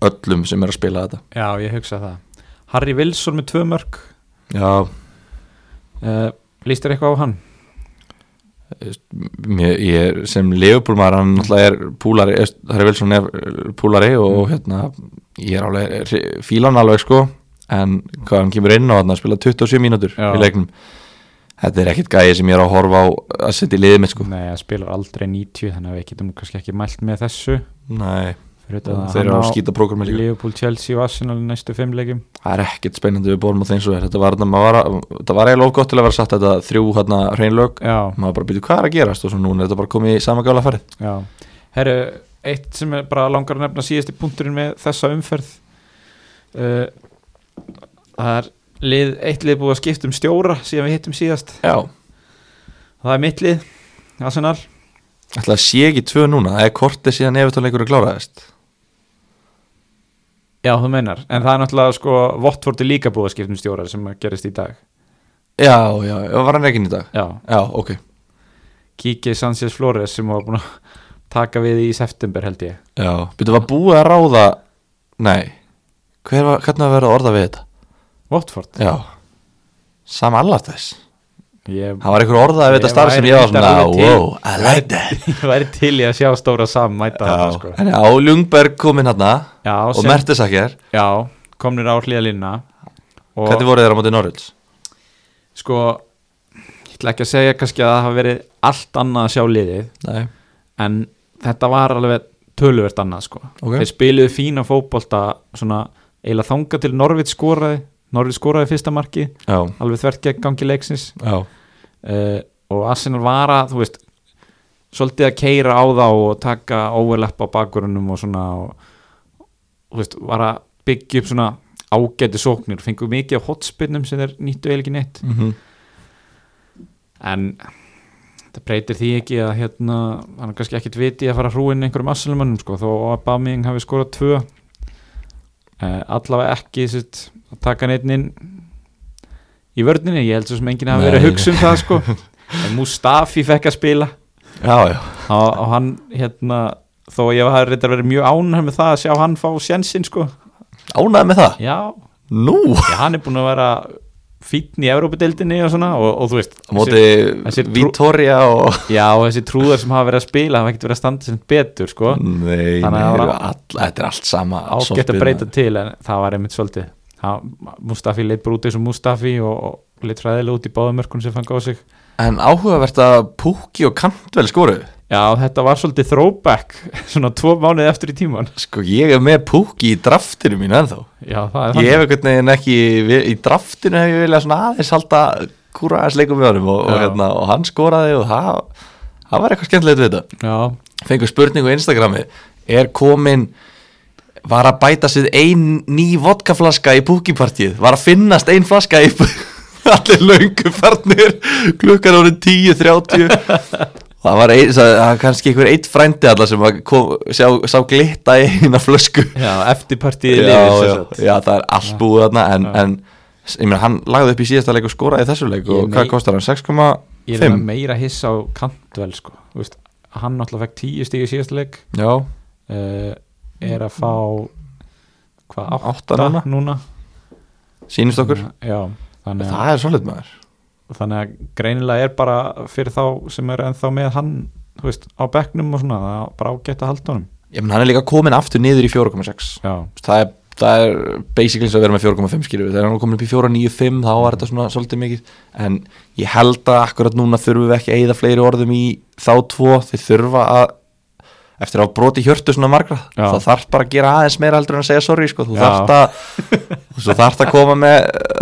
Speaker 2: öllum sem er að spila þetta
Speaker 1: já, ég hugsa það Harry Wilson með tvö mörg
Speaker 2: Já,
Speaker 1: uh, líst þér eitthvað á hann?
Speaker 2: mér, ég, er- sem leifupúlmaður hann náttúrulega er púlari er- Harry Wilson er eh, púlari og hérna ég er alveg, er- fíla hann alveg sko en hvað hann kemur inn á hann að spila 27 mínútur
Speaker 1: Já.
Speaker 2: í leiknum þetta er ekkit gæði sem ég er að horfa á að setja í liðið mitt sko
Speaker 1: Nei, hann spilar aldrei 90 þannig að við getum kannski ekki mælt með þessu
Speaker 2: Nei,
Speaker 1: fyrir utan að
Speaker 2: þeir eru
Speaker 1: hann
Speaker 2: að skýta prógrami líka
Speaker 1: Liverpool, Chelsea og Arsenal í næstu fimm leikjum
Speaker 2: það er ekkit spennandi við bórum á þeim svo er þetta var, þarna- maður var, að- þetta var eiginlega of gott til að vera satt þetta þrjú hérna hreinlög
Speaker 1: Já,
Speaker 2: maður bara byrju hvað er að gerast og svo núna er þetta bara komið í sama gála færið
Speaker 1: já Herru, eitt sem er bara langar að nefna síðasti punkturinn með þessa umferð uh, Það er lið, eitt lið búið að skipta um stjóra síðan við hittum síðast
Speaker 2: Já,
Speaker 1: Það er mitt lið, Arsenal
Speaker 2: ætla að sé ekki tvö núna það er kortið síðan efutónleikur að klára þess
Speaker 1: Já, þú meinar, en það er náttúrulega sko Votford er líka búið að skipta um stjóra sem gerist í dag
Speaker 2: Já, já, já, var hann ekki í dag?
Speaker 1: Já,
Speaker 2: Já, ok
Speaker 1: Kiki Sanchez Flores sem var búin að taka við í september held ég
Speaker 2: Já, byrju var búið að ráða Nei, Hver var, hvernig var verið að orða við þetta?
Speaker 1: Votford
Speaker 2: Já, Sam Allardyce
Speaker 1: Ég
Speaker 2: Hann var einhver orðað við þetta
Speaker 1: Ég
Speaker 2: starf sem ég var
Speaker 1: væri
Speaker 2: svona
Speaker 1: reyndar alveg til-
Speaker 2: Wow, I like that
Speaker 1: ég væri til í að sjá stóra sam mæta það sko
Speaker 2: Já, en já, Ljungberg kominn hérna
Speaker 1: Já,
Speaker 2: og
Speaker 1: sem-
Speaker 2: Mertesakker,
Speaker 1: Já, komnir á hlýðalínna og
Speaker 2: hvernig voru þeir á móti Norrölds?
Speaker 1: sko ég ætla ekki að segja kannski að það hafi verið allt annað að sjá liðið
Speaker 2: Nei,
Speaker 1: en þetta var alveg töluvert annað sko
Speaker 2: Ok.
Speaker 1: þeir spiluðu fína fótbolta svona eiginlega þanga til Norvit skoraði Norvit skoraði fyrsta marki
Speaker 2: já,
Speaker 1: alveg þvert gegn gangi leiksins
Speaker 2: já
Speaker 1: uh, og Arsenal var að þú veist svolítið að keira á þá og taka overlapp á bakgrunum og svona og, þú veist, var að byggja upp svona ágæti sóknir, fengu mikið á hotspinnum sem þeir nýttu eiginlega ekki neitt
Speaker 2: mm
Speaker 1: en það breytir því ekki að hérna, hann er kannski ekkit viti að fara að hrúin einhverjum Arsenalmönnum sko, þó að Baming hafi skorað tvö uh, allavega ekki sitt, að taka neitt inn í vörninni, ég held svo sem enginn hafi verið að
Speaker 2: Nei.
Speaker 1: hugsa um það sko en Mustafi fekk að spila
Speaker 2: Já, já,
Speaker 1: og, og hann hérna þó að ég hafi reyndar verið mjög ánægð með það að sjá hann fá sjensinn sko
Speaker 2: ánæði með það
Speaker 1: já,
Speaker 2: Nú,
Speaker 1: já, hann er búin að vera fítn í Európa-deildinni og svona og, og þú veist
Speaker 2: á móti
Speaker 1: þessi trú-
Speaker 2: Vitoria og
Speaker 1: já, og þessi trúðar sem hafa verið að spila hafa ekkert verið að standa sem betur sko
Speaker 2: Mm, Nei, nei,
Speaker 1: Þannig að það var
Speaker 2: all, þetta er allt sama
Speaker 1: ágætt að
Speaker 2: softbyrna.
Speaker 1: breyta til en það var einmitt svolítið hann, Mustafi leitt bara út eins og Mustafi og, og leitt ræðilega út í báðumörkun sem fann á sig
Speaker 2: En áhugavert að Pukki og Kantvel skoru
Speaker 1: já, þetta var svolítið throwback svona tvo mánuði eftir í tíman
Speaker 2: Sko ég er með Pukki í draftinu mínu ennþá
Speaker 1: já, það er
Speaker 2: Ég hef einhvern veginn ekki vi- Í draftinu hef ég viljað svona aðeins halda Kúra aðeins leikum með honum og, og,
Speaker 1: Já.
Speaker 2: hérna, og hann skoraði og það Það var eitthvað skemmtilegt við þetta
Speaker 1: já,
Speaker 2: Fengur spurningu á Instagrami Er komin Var að bæta sig ein ný vodkaflaska í Pukki-partíð Var að finnast ein flaska í Allir löngu farnir Klukkan árið 10.30 Það var ein, það, það var kannski einhver eitt frændi allar sem var kom, sjá, sá glitta í eina flösku
Speaker 1: já, eftirpartíði
Speaker 2: já,
Speaker 1: liðið
Speaker 2: já, já, það er allt búið þarna en, en ég meina, hann lagði upp í síðasta leik og skoraði í þessu leik
Speaker 1: Ég
Speaker 2: og
Speaker 1: mei-
Speaker 2: hvað kostar hann? 6,5?
Speaker 1: Ég er með meira hissa á Kantvel sko. Þú veist, hann náttúrulega fekk 10 stíg í síðasta leik
Speaker 2: Já,
Speaker 1: uh, er að fá hvað, 8
Speaker 2: Átta núna?
Speaker 1: núna, núna.
Speaker 2: sýnist okkur
Speaker 1: Já, þannig, að,
Speaker 2: Það er svolít maður
Speaker 1: þannig að greinilega er bara fyrir þá sem er ennþá með hann þú veist, á bekknum og svona það er bara ágætt að halda honum
Speaker 2: Ég menn hann er líka komin aftur niður í 4,6
Speaker 1: Já,
Speaker 2: það er, það er basically eins og að vera með 4,5 skilur við, þegar hann er komin upp í 4,95 þá var þetta svona svolítið mikið en ég held að akkurat núna þurfum við ekki að eyða fleiri orðum í þá tvo þeir þurfa að eftir að hafa broti hjörtu svona margra
Speaker 1: Já.
Speaker 2: þá þarf bara að gera aðeins meira heldur en að segja sorry sko.
Speaker 1: Já.
Speaker 2: þú þarft að þú þarft að koma með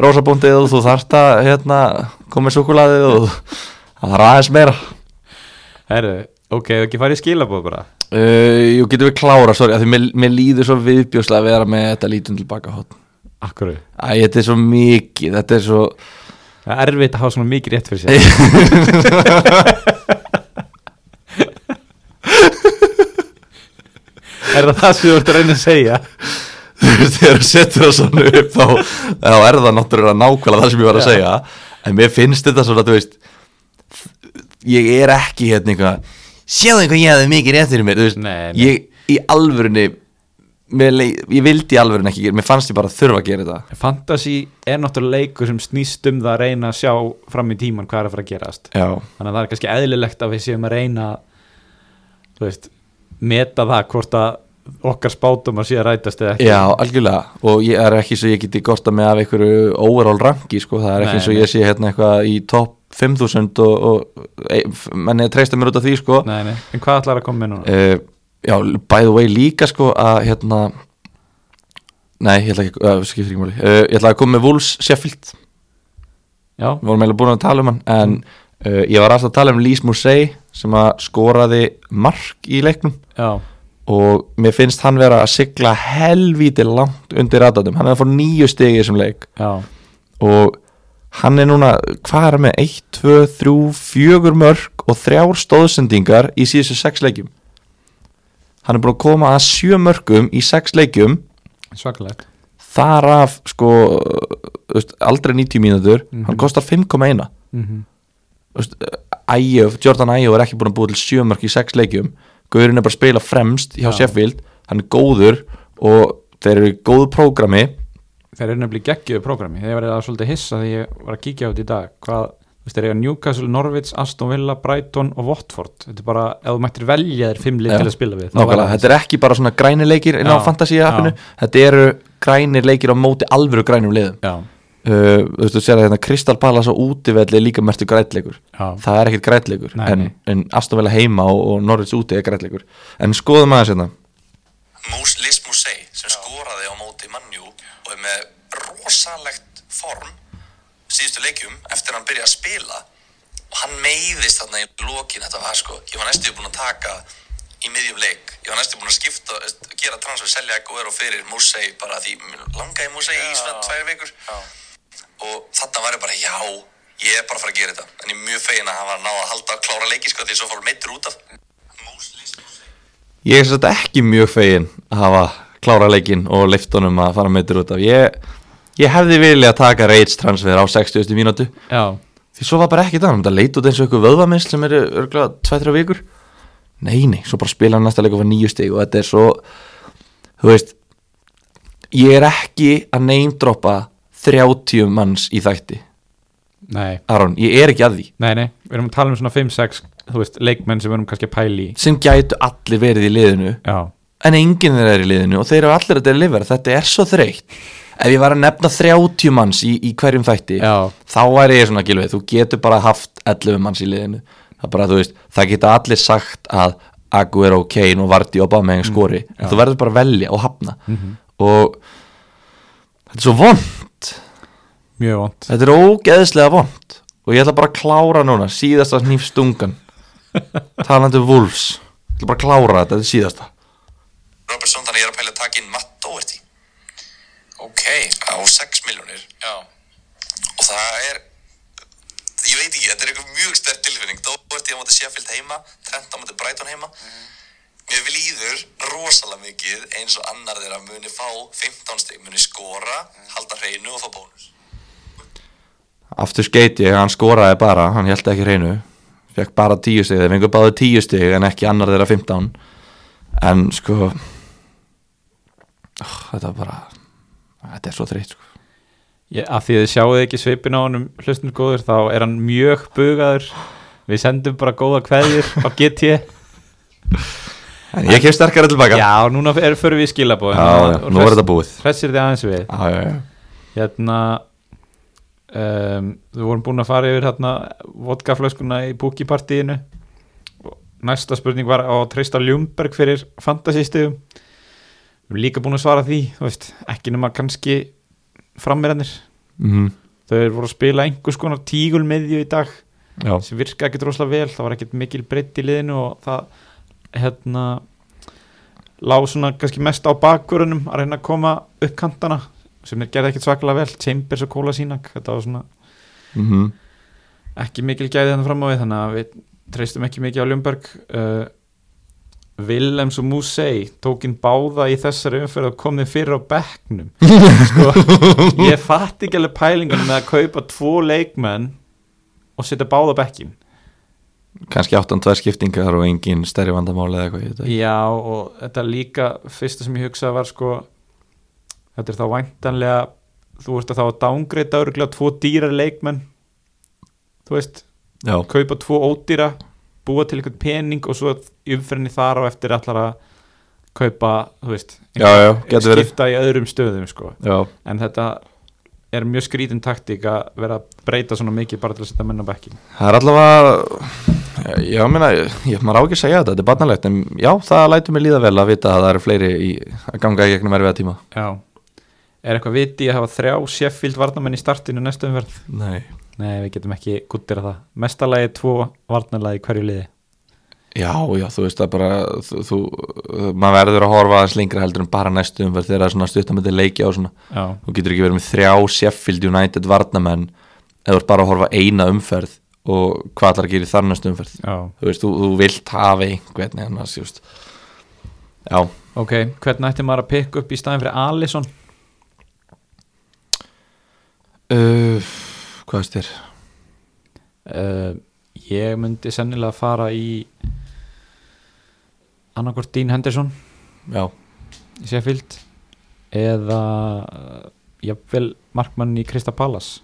Speaker 2: rosabóndið og þú þarft að hérna, koma með súkulaðið og það þarf aðeins meira
Speaker 1: herru, ok, ef ekki farið í skilabóð bara
Speaker 2: uh, Jú, getum við klára, sorry að því mér, mér líður svo viðbjóslega að vera með þetta lítum tilbaka hótt
Speaker 1: Akkur,
Speaker 2: Æ, þetta er svo mikið, þetta er svo
Speaker 1: það er erfitt að hafa svona mikið rétt fyrir sér Er það það sem þú ert að reyna að segja?
Speaker 2: þegar þú setur það svona upp þá, þá er það náttúrulega nákvæmlega það sem ég var að
Speaker 1: Já.
Speaker 2: segja en mér finnst þetta svona, þú veist ég er ekki hérna eitthvað sjáðu hvað ég hefði mikið rétt fyrir mér þú veist,
Speaker 1: Nei, nei.
Speaker 2: ég í alvörunni mér leið, ég vildi í alvörunni ekki gera mér fannst ég bara þurfa að gera þetta
Speaker 1: Fantasy er náttúrulega leikur sem snýst um það að reyna að sjá fram í tíman hvað er að fara að gerast
Speaker 2: já,
Speaker 1: þannig að það er kannski eðlilegt að við séum að reyna þú veist, meta það hvort að okkar spátum að sé að rætast eða ekki
Speaker 2: já algjörlega og ég er ekki svo ég geti gorta með af einhverju overall ranki sko, það er
Speaker 1: Nei,
Speaker 2: ekki eins og
Speaker 1: nei.
Speaker 2: ég sé hérna eitthvað í topp 5000 og, og e, menn ég treysta mér út af því sko
Speaker 1: nei, nei. en hvað ætlar að koma með núna?
Speaker 2: uh, já, by the way líka sko að hérna nei, ég ætla ekki, uh, skiptir ekki máli uh, ég ætla að koma með Wolves Sheffield við
Speaker 1: já,
Speaker 2: vorum eiginlega búin að tala um hann
Speaker 1: Mm.
Speaker 2: en uh, ég var alltaf að tala um Lís Mousset sem að skoraði mark í leiknum
Speaker 1: já,
Speaker 2: og mér finnst hann vera að sigla helvíti langt undir radatum hann er að fá nýju stegi í þessum leik
Speaker 1: já
Speaker 2: og hann er núna hvað er hann með 1, 2, 3, 4 mörg og þrjár stóðsendingar í síðustu 6 leikjum hann er búin að koma að 7 mörgum í 6 leikjum
Speaker 1: svakalegt
Speaker 2: þar af sko þú veist, aldrei 90 mínútur hann kostar 5,1
Speaker 1: mm
Speaker 2: Þú veist, Ægjöf, Jordan Ægjöf er ekki búin að búið til 7 mörg í 6 leikjum Guðurinn er bara að spila fremst hjá
Speaker 1: Já.
Speaker 2: Sheffield hann er góður og þeir eru í góðu prógrami
Speaker 1: þeir eru nefnilega geggjöðu prógrami þeir verið að svolítið hissa þegar ég var að kíkja út í dag hvað, þú veist, þeir eru Newcastle, Norwich, Aston Villa, Brighton og Watford þetta er bara, ef þú mættir velja þér fimm lið
Speaker 2: Já,
Speaker 1: til að spila við þá
Speaker 2: Nákvæmlega,
Speaker 1: væri það-
Speaker 2: þetta er ekki bara svona grænir leikir inn á
Speaker 1: Já,
Speaker 2: fantasy appinu,
Speaker 1: já.
Speaker 2: þetta eru grænir leikir á móti alvöru grænum liðum
Speaker 1: já,
Speaker 2: uh, Þú veist, þú sér að hérna Crystal Palace á útivelli er líka mertu grænleikur
Speaker 1: já,
Speaker 2: Það er ekkit grænleikur,
Speaker 1: Nei,
Speaker 2: en,
Speaker 1: nei.
Speaker 2: en Aston Villa heima og, og Norwich úti er grænleikur En skoðum aðeins hérna
Speaker 3: Mous, Liz Mousset sem skoraði á móti mannjú og er með rosalegt form síðustu leikjum eftir að hann byrja að spila og hann meiðist þarna í lokin þetta var sko, ég var næstu búinn að taka í miðjum leik, ég var næstu búinn að skipta gera transfer, selja Aguero fyrir Mousset bara því mig langaði Mousset í svona tvær vikur og þarna var ég bara já ég er bara að fara að gera þetta en ég er mjög fegin að hann var að ná að halda að klára leiki sko því svo fór hann meittur út af Mous, Liz Mousset
Speaker 2: Ég er svolítið ekki mjög fegin að hafa klára leikinn og leiftunum að fara meitur út af Ég, ég hefði vilja að taka Rage transfer á 60. mínútu
Speaker 1: já,
Speaker 2: Því svo var bara ekki það, það leit út eins og eitthvað vöðvamins sem eru örgulega 2-3 vikur Nei, nei, svo bara spila hann næsta leik og fá nýju stig og þetta er svo Þú veist, ég er ekki að neymdroppa 30 manns í þætti
Speaker 1: nei
Speaker 2: Aron, ég er ekki að því
Speaker 1: Nei, nei, við erum að tala um svona 5-6 þú veist, leikmenn sem við erum kannski að pæla í
Speaker 2: sem gætu allir verið í liðinu
Speaker 1: Já,
Speaker 2: en enginn þeirra er í liðinu og þeir eru allir að delivera þetta er svo þreytt ef ég var að nefna 30 manns í, í hverjum þætti
Speaker 1: Já.
Speaker 2: þá væri ég svona gilvið þú getur bara haft 11 manns í liðinu það, er bara, þú veist, það geta allir sagt að Aguero, Kane og Vardy og Bameng skori en þú verður bara að velja og hafna og þetta er svo vond
Speaker 1: mjög vond
Speaker 2: þetta er ógeðslega vond og ég ætla bara að klára núna síðasta hnífstungan talandi um Wolves ég ætla bara að klára þetta, þetta er síðasta
Speaker 3: Robertson, þannig ég er að pæla að taka inn Matt Doherty Ok Á 6 miljónir Já Og það er Ég veit ekki, þetta er eitthvað mjög sterk tilfinning Doherty á móti Sheffield heima Trent á móti Brighton heima Mér vil íður rosalega mikið eins og annar þeirra muni fá 15 stig muni skora, halda hreinu og fá bónus
Speaker 2: aftur skeiti, hann skoraði bara hann held ekki hreinu, fekk bara tíu stig þeir fengur báðu tíu stig en ekki annar þeirra 15 en sko oh, þetta er bara þetta er svo þreytt sko.
Speaker 1: Ég, að því að þið sjáuð ekki svipin á honum hlustnir góður, þá er hann mjög bugaður Við sendum bara góða kveðjur á GT
Speaker 2: en ég kem sterkara tilbaka já,
Speaker 1: Já, núna er, förum við í skilabóð
Speaker 2: já, nú er þetta búið
Speaker 1: Hressir þið aðeins við
Speaker 2: já, já, já.
Speaker 1: Hérna um, Við vorum búin að fara yfir hérna vodkaflöskuna í búkipartíinu Næsta spurning var á Trista Ljumberg fyrir fantasystegum Við erum líka búin að svara því þú veist, ekki nema kannski frammeirannir
Speaker 2: Mm,
Speaker 1: þau voru að spila einhvers konar tígulmiðju í dag
Speaker 2: já.
Speaker 1: sem virka ekkert rosalega vel það var ekkert mikil breytt í liðinu og það hérna lág svona kannski mest á bakvörunum að reyna að koma upp kantana sem þeir gerði ekkert svaklega vel, Chambers og Kóla sínak þetta var svona
Speaker 2: Mm
Speaker 1: ekki mikil gæði þannig fram á við þannig að við treystum ekki mikið á Ljumberg uh, Willems og Musei tókin báða í þessari umferð og komið fyrir á bekknum sko, ég fatt ekki alveg pælingunum með að kaupa tvo leikmenn og setja báða á bekkin
Speaker 2: kannski áttan tvær skiptingar og engin stærri vandamál eða eitthvað, ég veit ekki.
Speaker 1: Já og þetta líka fyrsta sem ég hugsaði var sko þetta er þá væntanlega þú veist að þá að dángreita örgulega tvo dýrar leikmenn þú veist,
Speaker 2: Já,
Speaker 1: kaupa tvo ódýra búa til eitthvað pening og svo í umferðinni þar á eftir allar að kaupa, þú veist
Speaker 2: já, já, getur verið
Speaker 1: skipta í öðrum stöðum sko
Speaker 2: Já,
Speaker 1: en þetta er mjög skrítin taktík að vera að breyta svona mikið bara til að setja menn á bekkin
Speaker 2: það er allavega já, ég meina, ég maður á ekki að segja þetta þetta er barnalegt, en já, það lætur mig líða vel að vita að það eru fleiri í, að ganga í gegnum erfiða tíma.
Speaker 1: Já Er eitthvað viti í að hafa þrjá Sheffield varnamenn í startinu næstu umverð?
Speaker 2: Nei.
Speaker 1: Nei, við getum ekki guttir að það Mestalagi tvo varnalagi í hverju liði
Speaker 2: Já, já, þú veist það bara þú, þú, maður verður að horfa aðeins lengra heldur en bara næstu umverð þegar það er svona stuttamöndi leikja og svona,
Speaker 1: Já,
Speaker 2: þú getur ekki verið með þrjá Sheffield United varnamenn eða þú ert bara að horfa eina umferð og hvað ætlar að gera í þar næstu umferð
Speaker 1: já,
Speaker 2: þú veist, þú, þú vilt hafa einhvern annars, þú veist Já,
Speaker 1: ok Hvernig ætti maður að pikka upp í staðin fyrir Alisson?
Speaker 2: uh, hvað veist þér?
Speaker 1: Uh, ég myndi sennilega fara í annarkvort Dean Henderson
Speaker 2: Já,
Speaker 1: í Sheffield eða uh, jafnvel markmann í Krista Palace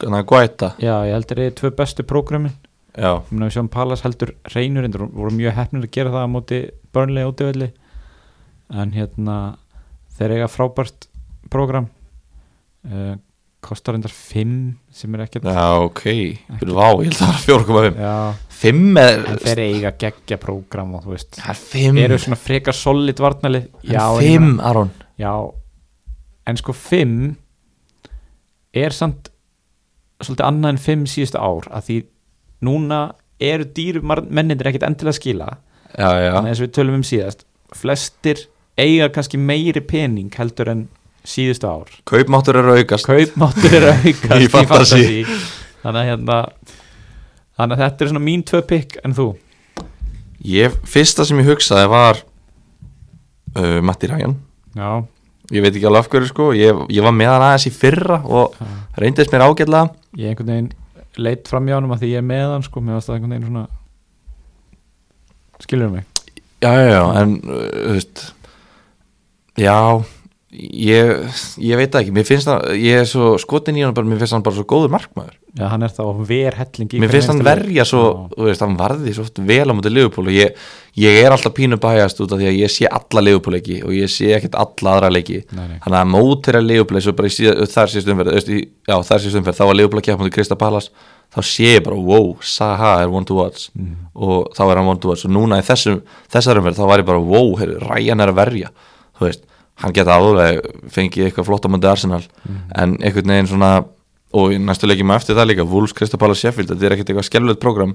Speaker 2: þannig að gæta
Speaker 1: Já, ég heldur þið tvö bestu prógramin
Speaker 2: Já,
Speaker 1: Ég meina við sjáum Palace heldur reynur en þeir voru mjög hefnir að gera það á móti Burnley útivelli en hérna þeir eiga frábært prógram uh, kostar endar 5 sem er ekkert
Speaker 2: já, ok Byrju, Vá, ég held að það var 4,5
Speaker 1: Já,
Speaker 2: 5 er,
Speaker 1: en þeir eiga geggja prógram og þú veist
Speaker 2: það er 5
Speaker 1: eru svona frekar solid varnalið já,
Speaker 2: Það er
Speaker 1: ég
Speaker 2: 5,
Speaker 1: meina-
Speaker 2: Aron
Speaker 1: já, en sko 5 er samt svolítið annað en 5 síðustu ár að því núna eru dýru mennindir ekkert endilega að skila
Speaker 2: Já, já,
Speaker 1: þannig eins og við tölum um síðast flestir eiga kannski meiri pening heldur en síðustu ár
Speaker 2: kaupmáttur eru að aukast
Speaker 1: kaupmáttur er að aukast
Speaker 2: Í fantasy.
Speaker 1: fantasy. þannig að hérna þannig að þetta er svona mín tvö pikk en þú
Speaker 2: Ég, fyrsta sem ég hugsaði var uh, Matti Ræjan
Speaker 1: já,
Speaker 2: Ég veit ekki alveg af hverju sko, ég, ég var með hann aðeins í fyrra og reyndist mér ágætlega
Speaker 1: ég einhvern veginn leitt fram hjá hann að því ég er með hann sko, mér varst það einhvern veginn svona skilur mig
Speaker 2: Já, já, já, en uh, þú veist Já, ég, ég veit það ekki, mér finnst hann, ég er svo skotin í hann bara, mér finnst hann bara svo góður markmaður
Speaker 1: já, hann er þá verhelling í hverjum
Speaker 2: Mér finnst hann
Speaker 1: einasta leik.
Speaker 2: verja svo,
Speaker 1: Já.
Speaker 2: þú veist, hann varði svo oft vel á mútið Liverpool og ég, ég er alltaf pínu bæjast út af því að ég sé alla Liverpool leiki og ég sé ekkert alla aðra leiki
Speaker 1: Nei, nei.
Speaker 2: þannig að mótir að Liverpool eins og bara í síða, þar síðust umferð, þú veist, í- já, þar síðust umferð þá var Liverpool að keppa mútið Krista Palace þá sé ég bara, wow, Saha er one to watch og þá er hann one to watch og núna í þessum, þessar umferð þá var ég bara, wow, heru, Ryan er að verja þú veist, hann geta alveg fengið eitthvað flott á mútið Arsenal en einhvern veginn svona og í næstu leikjum eftir það líka Wolves, Kristapala, Sheffield, þetta er ekkert eitthvað skelvöld program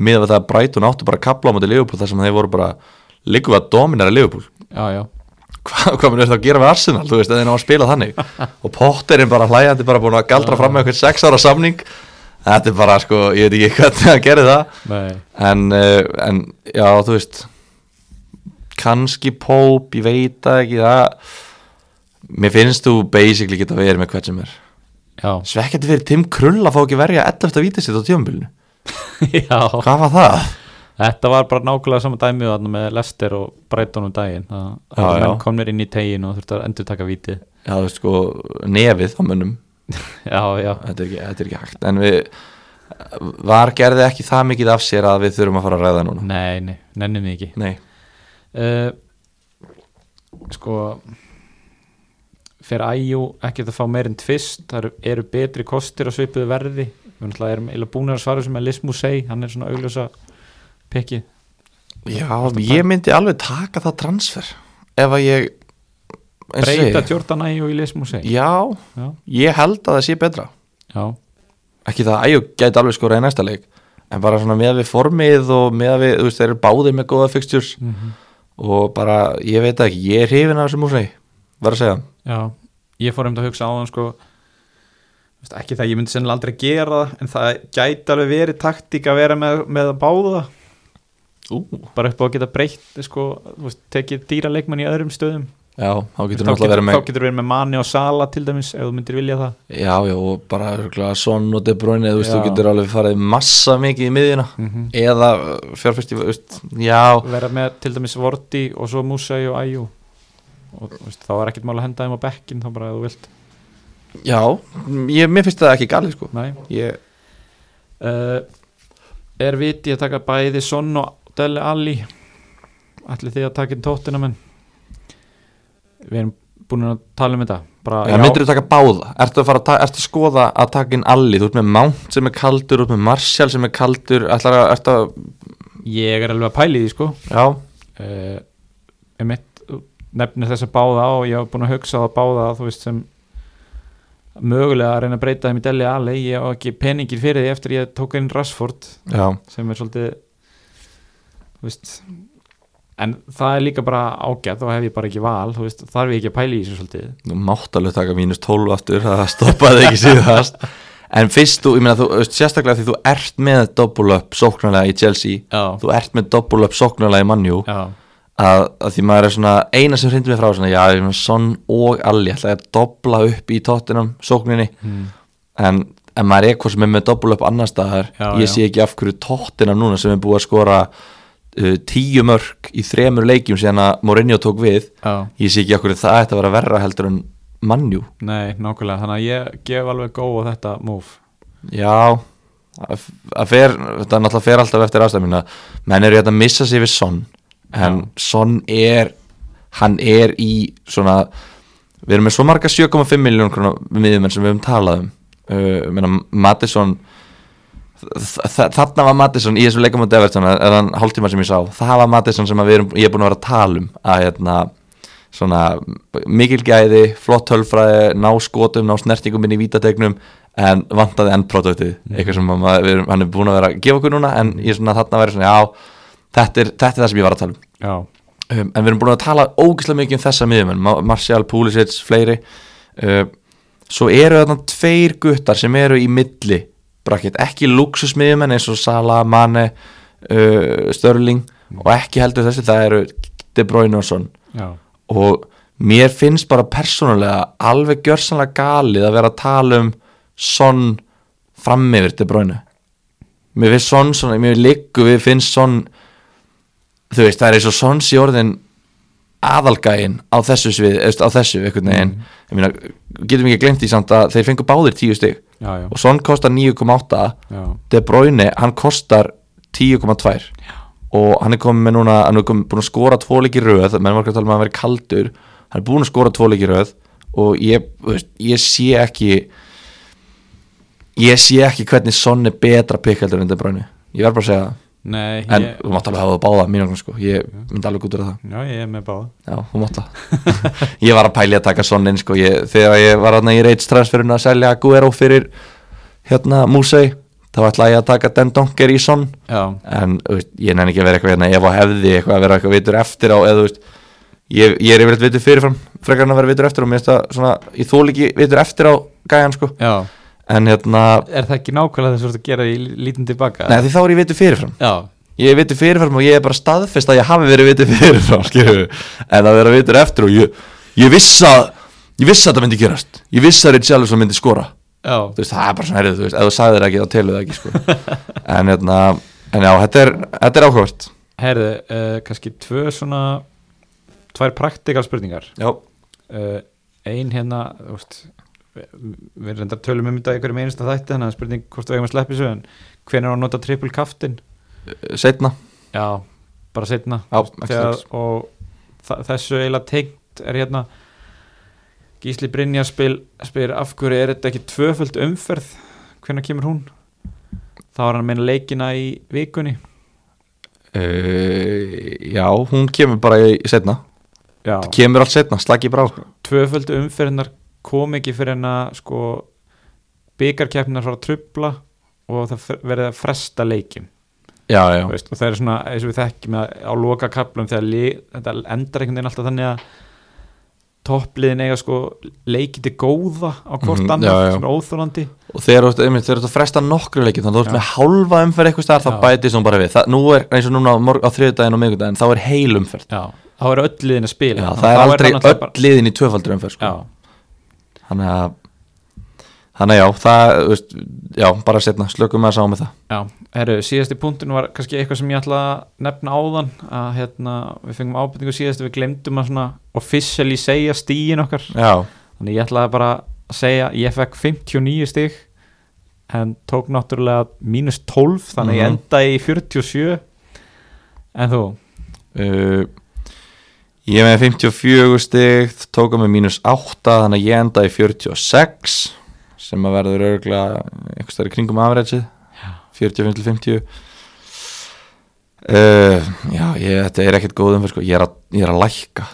Speaker 2: með að það að Brighton áttu bara að kapla á móti Liverpool þar sem þeir voru bara líka við að dominera Liverpool
Speaker 1: já, já,
Speaker 2: Hva, hvað mun þetta að gera við Arsenal, þú veist, að þeir ná að spila þannig og Potter er bara hlæjandi bara búin að galdra fram með eitthvað sex ára samning þetta er bara, sko, ég veit ekki hvernig hann gerir það
Speaker 1: nei
Speaker 2: en, eh, en já, þú veist kannski Pope, ég veit það ekki það mér finnst þú basically geta verið með hvert sem er
Speaker 1: já,
Speaker 2: Svekkjandi fyrir Tim Krull að fá ekki verja 11. vítið sitt á tjömbilinu
Speaker 1: já
Speaker 2: Hvað var það?
Speaker 1: Þetta var bara nákvæmlega saman dæmið þarna með Lester og Brighton um daginn það
Speaker 2: Já,
Speaker 1: það
Speaker 2: já.
Speaker 1: menn komnir inn í tegin og þurfti að endur taka vítið
Speaker 2: Já, þú veist sko, nefið á mönnum
Speaker 1: Já, já,
Speaker 2: þetta er, ekki, þetta er ekki hægt En við, var gerði ekki það mikið af sér að við þurfum að fara að ræða núna
Speaker 1: nei, nei, nennum við ekki
Speaker 2: Nei,
Speaker 1: uh, Sko fyrir æjú ekkert að fá meir en tvist það eru, eru betri kostir á svipuðu verði við náttúrulega erum eða búin að svara sem að Lismu segi, hann er svona augljósa pekki
Speaker 2: já, ég myndi alveg taka það transfer Ef að ég eins og
Speaker 1: Breyta
Speaker 2: segi,
Speaker 1: Jordan æjú í Lismu segi
Speaker 2: Já,
Speaker 1: Já,
Speaker 2: ég held að það sé betra
Speaker 1: já,
Speaker 2: Ekki það, æjú, gæti alveg skora í næsta leik En bara svona með við formið og með við, þú veist, þeir eru báðir með góða fixtures Og bara, ég veit það ekki, ég er hrifin af þessum úr segi Verð að segja það
Speaker 1: Já, ég fór um að hugsa á þann sko þú veist, ekki það ég myndi sennilega aldrei gera það en það gæti alveg verið taktík að vera með, með að báða
Speaker 2: Ú,
Speaker 1: bara upp á að geta breytt sko, þú veist, tekið dýra leikmann í öðrum stöðum
Speaker 2: já, þá getur
Speaker 1: þá
Speaker 2: hann alltaf
Speaker 1: getur,
Speaker 2: verið með
Speaker 1: þá getur verið með Mani og Sala til dæmis ef þú myndir vilja það
Speaker 2: já, já, og bara örugglega Son og De Bruyne þú, veist,
Speaker 1: Já.
Speaker 2: þú getur alveg farið massa mikið í miðjuna eða uh, fjárfæsti já,
Speaker 1: vera með til dæmis Vorti og svo Musai og Ayu og þú veist, þá er ekkert mál að henda þeim á bekkin þá bara ef þú vilt
Speaker 2: já, ég, mér finnst það ekki galið sko
Speaker 1: Nei.
Speaker 2: ég,
Speaker 1: Uh, er viti að taka bæði Son og Dele Alli ætli þið að taka inn tóttina menn við erum búin að tala um þetta bara,
Speaker 2: já, myndir þú taka báða ertu að, fara að, ta ertu að skoða að taka inn allir þú ert með Mount sem er kaldur, þú ert með Martial sem er kaldur, ætlar að, ertu að
Speaker 1: ég er alveg að pæli því sko
Speaker 2: já,
Speaker 1: uh, emitt nefnir þess að báða á ég hef búin að hugsa á að báða þú veist sem mögulega að reyna að breyta þeim í Dele Alli ég á ekki peningir fyrir því eftir ég tók inn Rashford
Speaker 2: já,
Speaker 1: sem er svolítið þú veist en það er líka bara ágætt og hef ég bara ekki val þú veist, þarf ég ekki að pæla í þessu svolítið
Speaker 2: þú mátt alveg taka mínus 12 aftur það stoppaði ekki síðast en fyrst þú, ég meina þú, veist, sérstaklega því þú ert með double up sóknarlega í Chelsea
Speaker 1: Já.
Speaker 2: þú ert með double up sóknarlega í Manju að,
Speaker 1: já,
Speaker 2: að því maður er svona, eina sem hrindur mig frá svona, já, ég meina Son og Alli ætlaði að dobla upp í tóttinam sókninni
Speaker 1: Hmm.
Speaker 2: en, en maður er hvað sem er með double up annar staðar
Speaker 1: Já,
Speaker 2: ég
Speaker 1: já.
Speaker 2: sé ekki af hverju tóttinam núna sem er búið að skora uh, tíu mörg í þremur leikjum síðan að Mourinho tók við
Speaker 1: já,
Speaker 2: ég sé ekki okkur það ætti að vera verra heldur en mannjú
Speaker 1: nei, nákvæmlega þannig að ég gef alveg góð á þetta move
Speaker 2: já að að fer, þetta náttúrulega fer alltaf eftir ástæðmina menn eru hérna að missa sig við Son en Son er hann er í svona við erum með svo marga 7,5 miljón krona miðjumenn sem við höfum talað um uh, menna, Mattisson þ- þ- þarna var Mattisson í þessum leikum á Deverton eða hann hálftíma sem ég sá það var Mattisson sem að við erum, ég er búin að vera að tala um að hérna svona mikil gæði, flott tölfræði ná skotum, ná snertingum inn í vítategnum en vantaði endproduktið eitthvað sem að maður, við erum, hann er búin að vera að gefa okkur núna en ég er svona þarna að vera svona já þetta er, þetta er það sem ég var að tala um
Speaker 1: já,
Speaker 2: um, en við erum búin að tala ógislega mikið um þessa miðjumenn, Ma- Martial, Pulisic, fleiri uh, svo eru þarna tveir guttar sem eru í milli brakkett, ekki luxusmiðjumenn eins og Salah, Mane uh, Störling og ekki heldur þessi, það eru De Bruyne og Son
Speaker 1: já,
Speaker 2: og mér finnst bara persónulega alveg gjörsanlega galið að vera að tala um Son fram yfir De Bruyne mér finnst Son svona, mér liggu við finnst Son þú veist, það er eins og Son sé orðin aðalgæin á þessu svið, eða á þessu einhvern veginn, ég meina, getum ekki glemt því samt að þeir fengu báðir tíu stig
Speaker 1: já, já,
Speaker 2: og Son kostar 9,8
Speaker 1: já.
Speaker 2: De Bruyne, hann kostar 10,2 og hann er komið með núna, hann er komið, búin að skora tvo leiki í röð, menn var ekki að tala um að hann veri kaldur hann er búin að skora tvo leiki í röð og ég, þú veist, ég sé ekki ég sé ekki hvernig Son er betra pikkaldur en De Bruyne, ég verð bara að segja það
Speaker 1: nei,
Speaker 2: en
Speaker 1: ég,
Speaker 2: þú mátt alveg hafa það báða mínum vegna, sko, ég myndi alveg út úr það
Speaker 1: já, ég er með báða
Speaker 2: Já, þú mátt það Ég var að pæli að taka sonnin sko ég, Þegar ég var aðna í reitstransferinu að selja Guero fyrir hérna Musei Þá ætlaði ég að taka Den Donker í sonn
Speaker 1: já,
Speaker 2: En þú veist, ég nenni ekki að vera eitthvað hérna Ef á hefði eitthvað að vera eitthvað vitur eftir á eða, þú veist, ég, ég er yfirleitt vitur fyrirfram Frekar en að vera vitur eftir á Mér finnst það svona, ég þól ekki vitur eftir á gæjan sko
Speaker 1: já,
Speaker 2: En hérna,
Speaker 1: er það ekki nákvæmlega þess að gera í lítin tilbaka
Speaker 2: neða því þá er ég vitur fyrirfram
Speaker 1: já,
Speaker 2: ég er vitur fyrirfram og ég er bara staðfest að ég hafi verið vitur fyrirfram skilurðu. en að vera vitur eftir og ég, ég viss að ég viss að það myndi gerast ég viss að Richarlison myndi skora
Speaker 1: já,
Speaker 2: þú veist, það er bara svona herrið, þú veist, ef þú sagðir það ekki þá telur það ekki sko. en, hérna, en já, þetta er, þetta er áhugavert
Speaker 1: herðu uh, kannski tvö svona tvær praktikal spurningar
Speaker 2: já,
Speaker 1: uh, ein hérna þú veist, við, við reyndar tölum um þetta í hverjum einasta þætti þannig að spurning hvort við eigum að sleppi svo en hvenær á að nota triple kaftin
Speaker 2: setna
Speaker 1: já, bara setna
Speaker 2: Já, ekki strax.
Speaker 1: og þa- þessu eiginlega teikt er hérna Gísli Brynja spil, spyr af hverju er þetta ekki tvöföld umferð hvenær kemur hún þá er hann að meina leikina í vikunni
Speaker 2: uh, já, hún kemur bara í setna
Speaker 1: já,
Speaker 2: það kemur allt setna, slagi bara á sko.
Speaker 1: tvöföld umferðinar kom ekki fyrir en að sko byggarkeppnar fara að trubla og það fer- verið að fresta leikin
Speaker 2: já, já,
Speaker 1: þú veist, og það er svona eins og við þekkjum að á loka kaplum þegar lið, þetta endar einhvern veginn alltaf þannig að toppliðin eiga sko leikið til góða á hvort
Speaker 2: Mhm,
Speaker 1: mm,
Speaker 2: já, já.
Speaker 1: sem er óþólandi
Speaker 2: og þeir eru einmitt, þeir eru að fresta nokkru leikin þannig að þú ert
Speaker 1: Já.
Speaker 2: með hálfa umferð eitthvað staðar þá
Speaker 1: Já.
Speaker 2: bætist hún bara við það, nú er eins og núna á, morg- á þriðudaginn og miðgudaginn þá er heil umferð
Speaker 1: já, þá er öll liðin að spila
Speaker 2: Já,
Speaker 1: Þannig
Speaker 2: það
Speaker 1: að
Speaker 2: er
Speaker 1: þá
Speaker 2: aldrei
Speaker 1: náttúrulega
Speaker 2: öll liðin í tvöfaldur umferð sko.
Speaker 1: já,
Speaker 2: Þannig að Þannig að já, það, þú veist, já, bara setna, slökum að um sá með það
Speaker 1: Já, herru, síðasti punktin var kannski eitthvað sem ég ætla að nefna áðan að hérna, við fengum ábyrningu síðast við glemdum að svona officially segja stíin okkar,
Speaker 2: Já,
Speaker 1: þannig ég ætlaði bara að segja, ég fekk 59 stík en tók náttúrulega mínus 12, þannig ég
Speaker 2: Mhm.
Speaker 1: endaði í 47 en þú,
Speaker 2: uh, Ég er með 54 stig tóka með mínus 8 þannig að ég enda í 46 sem að verður örgulega einhvers þar í kringum afræðsið 45 til 50 uh, Já, ég, þetta er ekkert góð umferð sko. ég, er að, ég er að lækka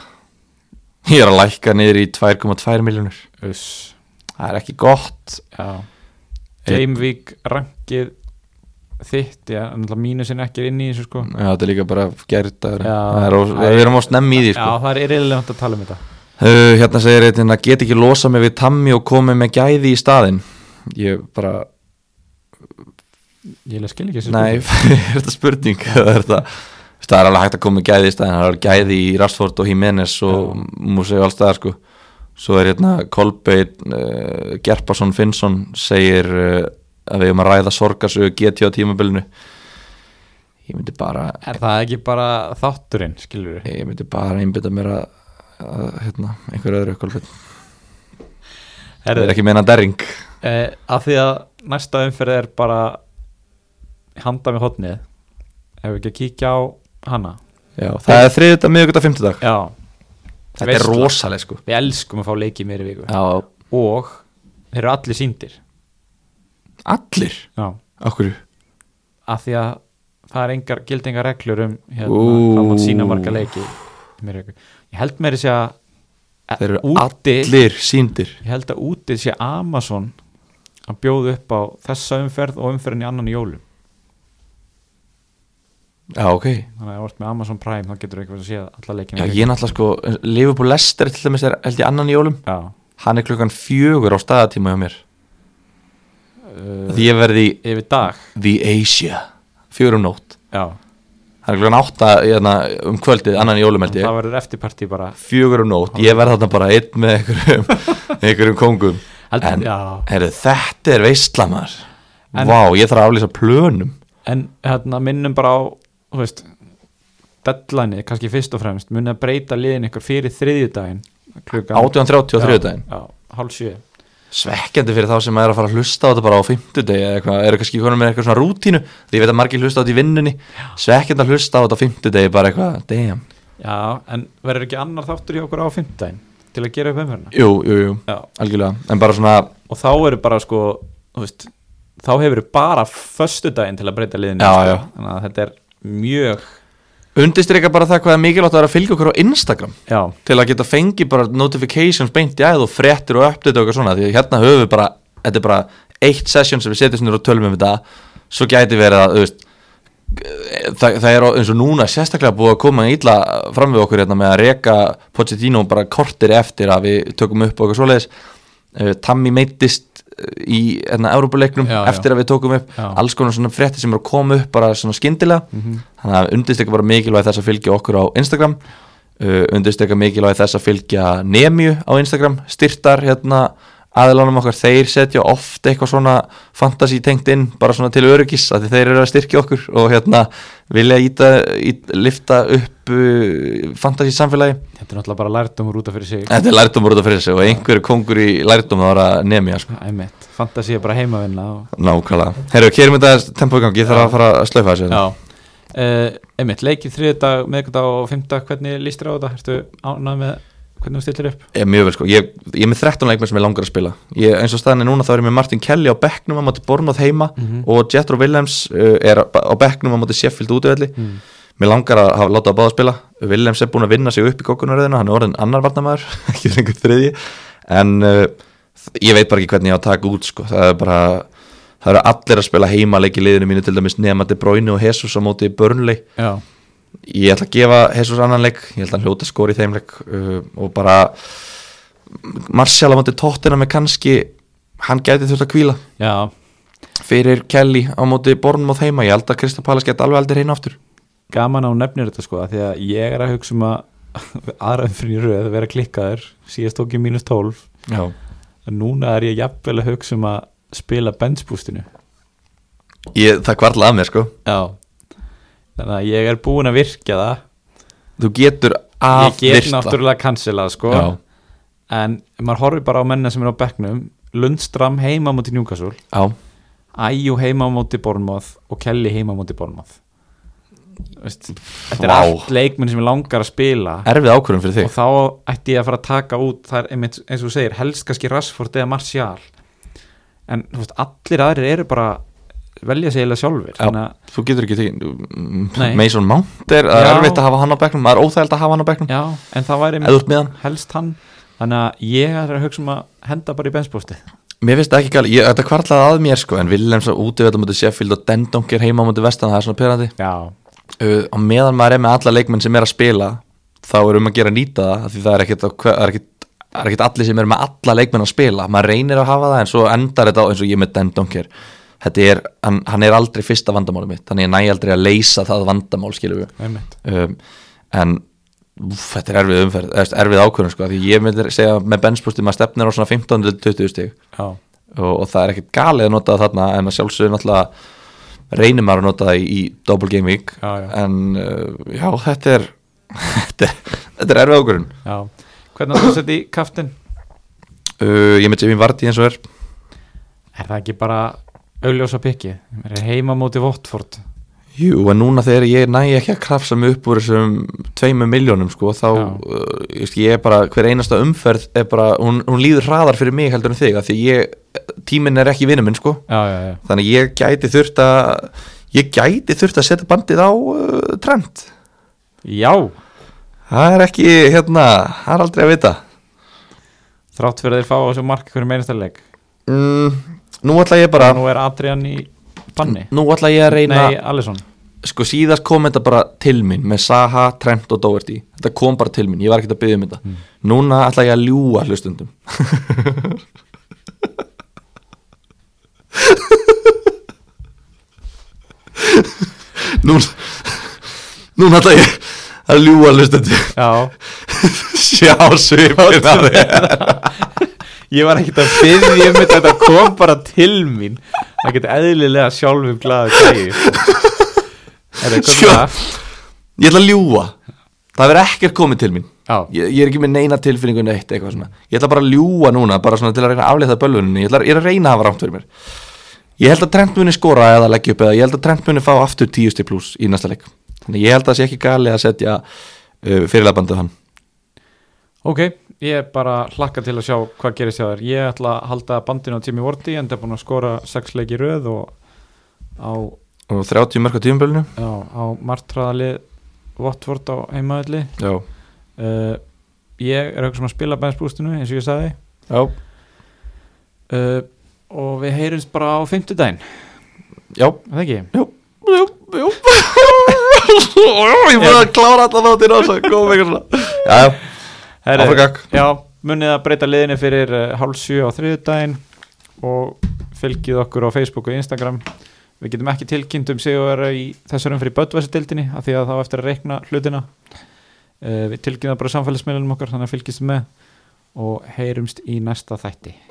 Speaker 2: Ég er að lækka niður í 2,2 miljónur
Speaker 1: uss
Speaker 2: Það er ekki gott
Speaker 1: já,
Speaker 2: Einn-
Speaker 1: Gameweek rankið þitt, já, náttúrulega mínusin ekki er inn í þessu sko
Speaker 2: Já, þetta er líka bara gerð
Speaker 1: Já.
Speaker 2: Við erum á snemmi í því sko.
Speaker 1: Já, það er irrelevant að tala um þetta
Speaker 2: Uh, hérna segir eitthvað að get ekki losa mig við Tammi og komi með gæði í staðinn Ég bara,
Speaker 1: Ég eiginlega skil ekki þessu sko.
Speaker 2: nei, er þetta spurning Eða er þetta, það er alveg hægt að koma með gæði í staðinn Það er gæði í Rashford og Jimenez og Múseu allstaðar sko Svo er hérna Kolbeinn, uh, Gerparsson Finnsson segir uh, að við erum að ræða sorgarsögu GT á tímabilinu Ég myndi bara,
Speaker 1: Er það ekki bara þátturinn, skilur við?
Speaker 2: ég myndi bara einbytta mér að, að hérna, einhver öðru Kolbeinn Það er ekki meina derring
Speaker 1: Eh, að því að næsta umferð er bara handa með hotnið ef við ekki að kíkja á hana
Speaker 2: Já, það er þriðudag, miðugudag, fimmtudag
Speaker 1: Já,
Speaker 2: Þetta er
Speaker 1: Veisla.
Speaker 2: rosaleg sko
Speaker 1: við elskum að fá leiki meiri viku
Speaker 2: Já,
Speaker 1: og þeir eru allir síndir
Speaker 2: allir
Speaker 1: Já,
Speaker 2: Akkur
Speaker 1: að því að það er engar, gildi engar reglur um hérna,
Speaker 2: Ú.
Speaker 1: hvað maður sína marga leiki í meiri viku Ég held meiri sé að
Speaker 2: Þeir eru
Speaker 1: úti-
Speaker 2: allir síndir
Speaker 1: Ég held að útið sé Amazon að bjóða upp á þessa umferð og umferðin í annan í jólum
Speaker 2: Já, ok
Speaker 1: þannig að ef þú ert með Amazon Prime þá getur þú eitthvað að sé alla leikina
Speaker 2: Já, ég náttúrulega sko Liverpool Lester til dæmis er held ég annan í jólum
Speaker 1: Já,
Speaker 2: Hann er klukkan fjögur á staðatíma hjá mér
Speaker 1: uh,
Speaker 2: Því ég verði í
Speaker 1: yfir dag
Speaker 2: The Asia Fjögur um nótt
Speaker 1: Já,
Speaker 2: Hann er klukkan átta hérna, um kvöldið annan í jólum held
Speaker 1: það
Speaker 2: ég
Speaker 1: verður eftirparti bara
Speaker 2: Fjögur um nótt Ég verð þarna bara einn með einhverjum, einhverjum kongum
Speaker 1: Heldur-
Speaker 2: En
Speaker 1: já.
Speaker 2: heyrðu, þetta er veistlamar
Speaker 1: En-
Speaker 2: Vá, ég þarf að aflýsa plönum
Speaker 1: En hérna minnum bara á þú veist, deadlineið kannski fyrst og fremst, munið að breyta liðin ykkur fyrir þriðjudaginn klukkan
Speaker 2: 18.30 á þriðudaginn
Speaker 1: Já, hálf sjö
Speaker 2: svekkjandi fyrir þá sem er að fara að hlusta á þetta bara á fimmtudegi eða eitthvað, eru kannski konum með eitthvað svona rútínu því ég veit að margir hlusta á þetta í vinnunni svekkjandi að hlusta á þetta á fimmtudegi bara eitthvað, damn,
Speaker 1: Já, en verður ekki annar þáttur hjá okkur á fimmtudaginn til að gera upp umferðina
Speaker 2: jú, jú, jú
Speaker 1: Já,
Speaker 2: algjörlega, en bara svona,
Speaker 1: og þá eru bara sko þú veist, þá hefur bara föstudaginn til að breyta liðinu
Speaker 2: Já,
Speaker 1: sko.
Speaker 2: já.
Speaker 1: þannig að þetta er mjög
Speaker 2: undirstreika bara það hvað er mikilvægt að vera að fylgja okkur á Instagram
Speaker 1: já,
Speaker 2: til að geta fengið bara notifications beint í æð og fréttir og update og eitthvað svona því að hérna höfum við bara, þetta er bara eitt session sem við setjum sinni og tölum um þetta svo gæti verið að, þú veist það, það er á- eins og núna sérstaklega búið að koma illa fram við okkur hérna með að reka Pochettino bara kortir eftir að við tökum upp og eitthvað svoleiðis Eh, Tammy meittist eh, í hérna, Európa-leiknum
Speaker 1: Já, já.
Speaker 2: eftir að við tókum upp
Speaker 1: Já. Mhm.
Speaker 2: alls konar svona fréttir sem eru að koma upp bara svona skyndilega þannig að undirsteka bara mikilvæg þess að fylgja okkur á Instagram uh, undirsteka mikilvæg þess að fylgja Nemju á Instagram, styrtar hérna aðlánum okkar, þeir setja oft eitthvað svona fantasy tengt inn bara svona til öryggis að þeir eru að styrkja okkur og hérna vilja íta, ít, lifta upp uh, fantasy samfélagi
Speaker 1: þetta er náttúrulega bara lærtumur út af fyrir sig
Speaker 2: þetta er lærdómur út af fyrir sig og einhverju kongur í lærdóm þá er að Nemja sko.
Speaker 1: æmitt, fantasi er bara heimavinna og...
Speaker 2: Nákvæmlega. Herru, keirum þetta tempo í gangi, ég þarf að fara að slaufa þessu.
Speaker 1: já, uh, einmitt, leikir þriðdag, miðgudag og fimmdag, hvernig líst þér á þetta, ertu ánað með hvernig þú stillir upp
Speaker 2: Ég, er mjög vel sko, ég, ég er með 13 leikmenn sem ég langar að spila ég, eins og staðan er núna þá er ég með Martin Kelly á bekknum á móti Bornóð heima
Speaker 1: Mhm.
Speaker 2: og Jethro Williams uh, er á- á bekknum á móti Sheffield útöðli mér langar að hafa, láta að báða spila Williams er búin að vinna sig upp í kokkunaröðina hann er orðin annar varnamæður, ekki lengur þriðji en uh, ég veit bara ekki hvernig ég á að taka út sko, það er bara það eru allir að spila heima leiki liðinu mínu til dæmis nema til Bróinu og Jesus á móti Börnleik
Speaker 1: já,
Speaker 2: ég ætla að gefa Jesus annan leik ég held að hann hljóta skori í þeim leik uh, og bara Marcial á móti tóttina með kannski hann gæti þurft að kvíla
Speaker 1: já,
Speaker 2: fyrir Kelly á móti Bornmóð heima ég held að Kristap Pallas geti alveg aldrei reyna aftur
Speaker 1: gaman á nefnir þetta sko, af því að ég er að hugsa um að aðra umfyrin í röð að vera klikkaður síðast tók ég mínus 12
Speaker 2: já,
Speaker 1: en núna er ég jafnvel að hugsa um að spila benchboostinu
Speaker 2: ég, það kvarla að mér sko
Speaker 1: já þannig að ég er búin að virkja það
Speaker 2: þú getur að
Speaker 1: ég get náttúrulega cancelað sko
Speaker 2: já,
Speaker 1: en ef maður horfir bara á menna sem er á bekknum Lundstram heima á móti Newcastle
Speaker 2: já,
Speaker 1: Æjú heima á móti Bornmoth og Kelly heima á móti Bornmoth Veist, Þetta er
Speaker 2: Vá.
Speaker 1: allt leikmenn sem ég langar að spila
Speaker 2: erfið ákvörðum fyrir
Speaker 1: og
Speaker 2: þig
Speaker 1: þá ætti ég að fara að taka út það er einmitt, eins og þú segir, helst kannski Rashford eða Martial en þú veist, allir aðrir eru bara velja sig eiginlega sjálfur
Speaker 2: já,
Speaker 1: þannig að,
Speaker 2: þú getur ekki tekið
Speaker 1: Nei.
Speaker 2: Mason Mount er það er
Speaker 1: Já.
Speaker 2: erfitt að hafa hann á bekknum maður er óþægild að hafa hann á bekknum
Speaker 1: já, en það væri
Speaker 2: eða upp með hann
Speaker 1: helst hann þannig að ég er að hugsa um að henda bara í benspósti
Speaker 2: Mér finnst það ekki gæli, ég, þetta kvarlaði að mér sko en Willems á útivölda mútið Sheffield og Dendonk er heima mútið vestan, það er svona pyrrandi
Speaker 1: Já,
Speaker 2: uh, og meðan maður er með alla leikmenn sem er að spila þá er um að gera að nýta það af því það er ekkit, á hver- það er ekkit, það er ekkit allir sem er með alla leikmenn að spila maður reynir að hafa það en svo endar þetta á eins og ég með Dendonker þetta er, hann, hann er aldrei fyrsta vandamáli mitt þannig ég næ aldrei að leysa það vandamál skilur við
Speaker 1: einmitt
Speaker 2: um, en úf, þetta er erfið umferð, eða, þú veist, erfið ákvörðun sko, af því ég myndi segja að með benspústi maður stefnir á svona 15-20 stig
Speaker 1: Já,
Speaker 2: og, og það er ekkert galið að nota það þarna en að sjálfsögðu náttúrulega reynir maður að nota það í, í Double Game Week
Speaker 1: Já, já.
Speaker 2: en uh, já, þetta er þetta er, þetta er erfið ákvörðun
Speaker 1: já Hvernig áttu að setja í kaftin?
Speaker 2: uh, ég með Jimmy Vardy eins og er
Speaker 1: Er það ekki bara augljósa piki? Er heima móti Votford?
Speaker 2: Jú, en núna þegar ég næ ekki að krafsa mig upp úr þessum tveimur miljónum sko, þá,
Speaker 1: Já.
Speaker 2: uh, ég, veist, ég er bara, hver einasta umferð er bara, hún, hún líður hraðar fyrir mig heldur en þig, af því ég tíminn er ekki vinnu minn, sko,
Speaker 1: Já, já, já
Speaker 2: þannig ég gæti þurft að ég gæti þurft að setja bandið á uh, trend
Speaker 1: Já,
Speaker 2: Það er ekki, hérna, það er aldrei að vita
Speaker 1: þrátt fyrir að þeir fá á þessu mark hverju meinasta leik
Speaker 2: mm, Nú ætla ég bara
Speaker 1: Nú er Adrian í banni
Speaker 2: Nú ætla ég að reyna
Speaker 1: Nei, Alisson
Speaker 2: Sko síðast kom þetta bara til mín Með Saha, Trent og Doherty Þetta kom bara til mín, ég var ekkert að byggja um þetta Núna ætla ég að ljúga hlustundum Núna Núna ætla ég að ljúga hlustundum
Speaker 1: Já,
Speaker 2: Sjá svipin að þér
Speaker 1: ég var ekkert að byrja um þetta Þetta kom bara til mín Það geti eðlilega sjálfum glaðu gæði Er það komið
Speaker 2: Sko.
Speaker 1: það?
Speaker 2: Ég ætla að ljúa Það verður ekkert komið til mín
Speaker 1: Já.
Speaker 2: ég, ég er ekki með neina tilfinningu neitt eitthvað svona Ég ætla bara að ljúa núna Bara svona til að reyna að aflétta bölvuninni ég, ætla- ég er að reyna að hafa rámt fyrir mér Ég held að Trent muni skora eða leggja upp eða ég held að Trent muni fá aftur 10 stig pluss í næsta leik Þannig ég held að það sé ekki gali að setja uh, fyrirlabandið á hann
Speaker 1: Ok, ég bara hlakka til að sjá hvað gerist hjá þér Ég ætla að halda bandinu á Jimmy Vorti en það er búin að skora sex leik í röð og á,
Speaker 2: Og 30 mörg á tíumbölinu
Speaker 1: já, á martraðali Votford á heimaðalli
Speaker 2: Já,
Speaker 1: uh, Ég er auðvitað sem að spila bænsbústinu eins og ég sagði
Speaker 2: já,
Speaker 1: uh, og við heyrumst bara á fimmtudaginn,
Speaker 2: já
Speaker 1: er það ekki?
Speaker 2: Jú, jú Ég búið að klára allan áttir og svo komum eitthvað svona Já, já,
Speaker 1: Herri,
Speaker 2: áfram gakk
Speaker 1: já, munið að breyta liðinu fyrir uh, hálf sjö á þriðudaginn og fylgið okkur á Facebook og Instagram við getum ekki tilkynnt um sigur í þessarum fyrir böttvæsadildinni af því að þá á eftir að reikna hlutina Eh, uh, við tilkynna bara samfélagsmiðlunum okkar þannig að fylgist með og heyrumst í næsta þætti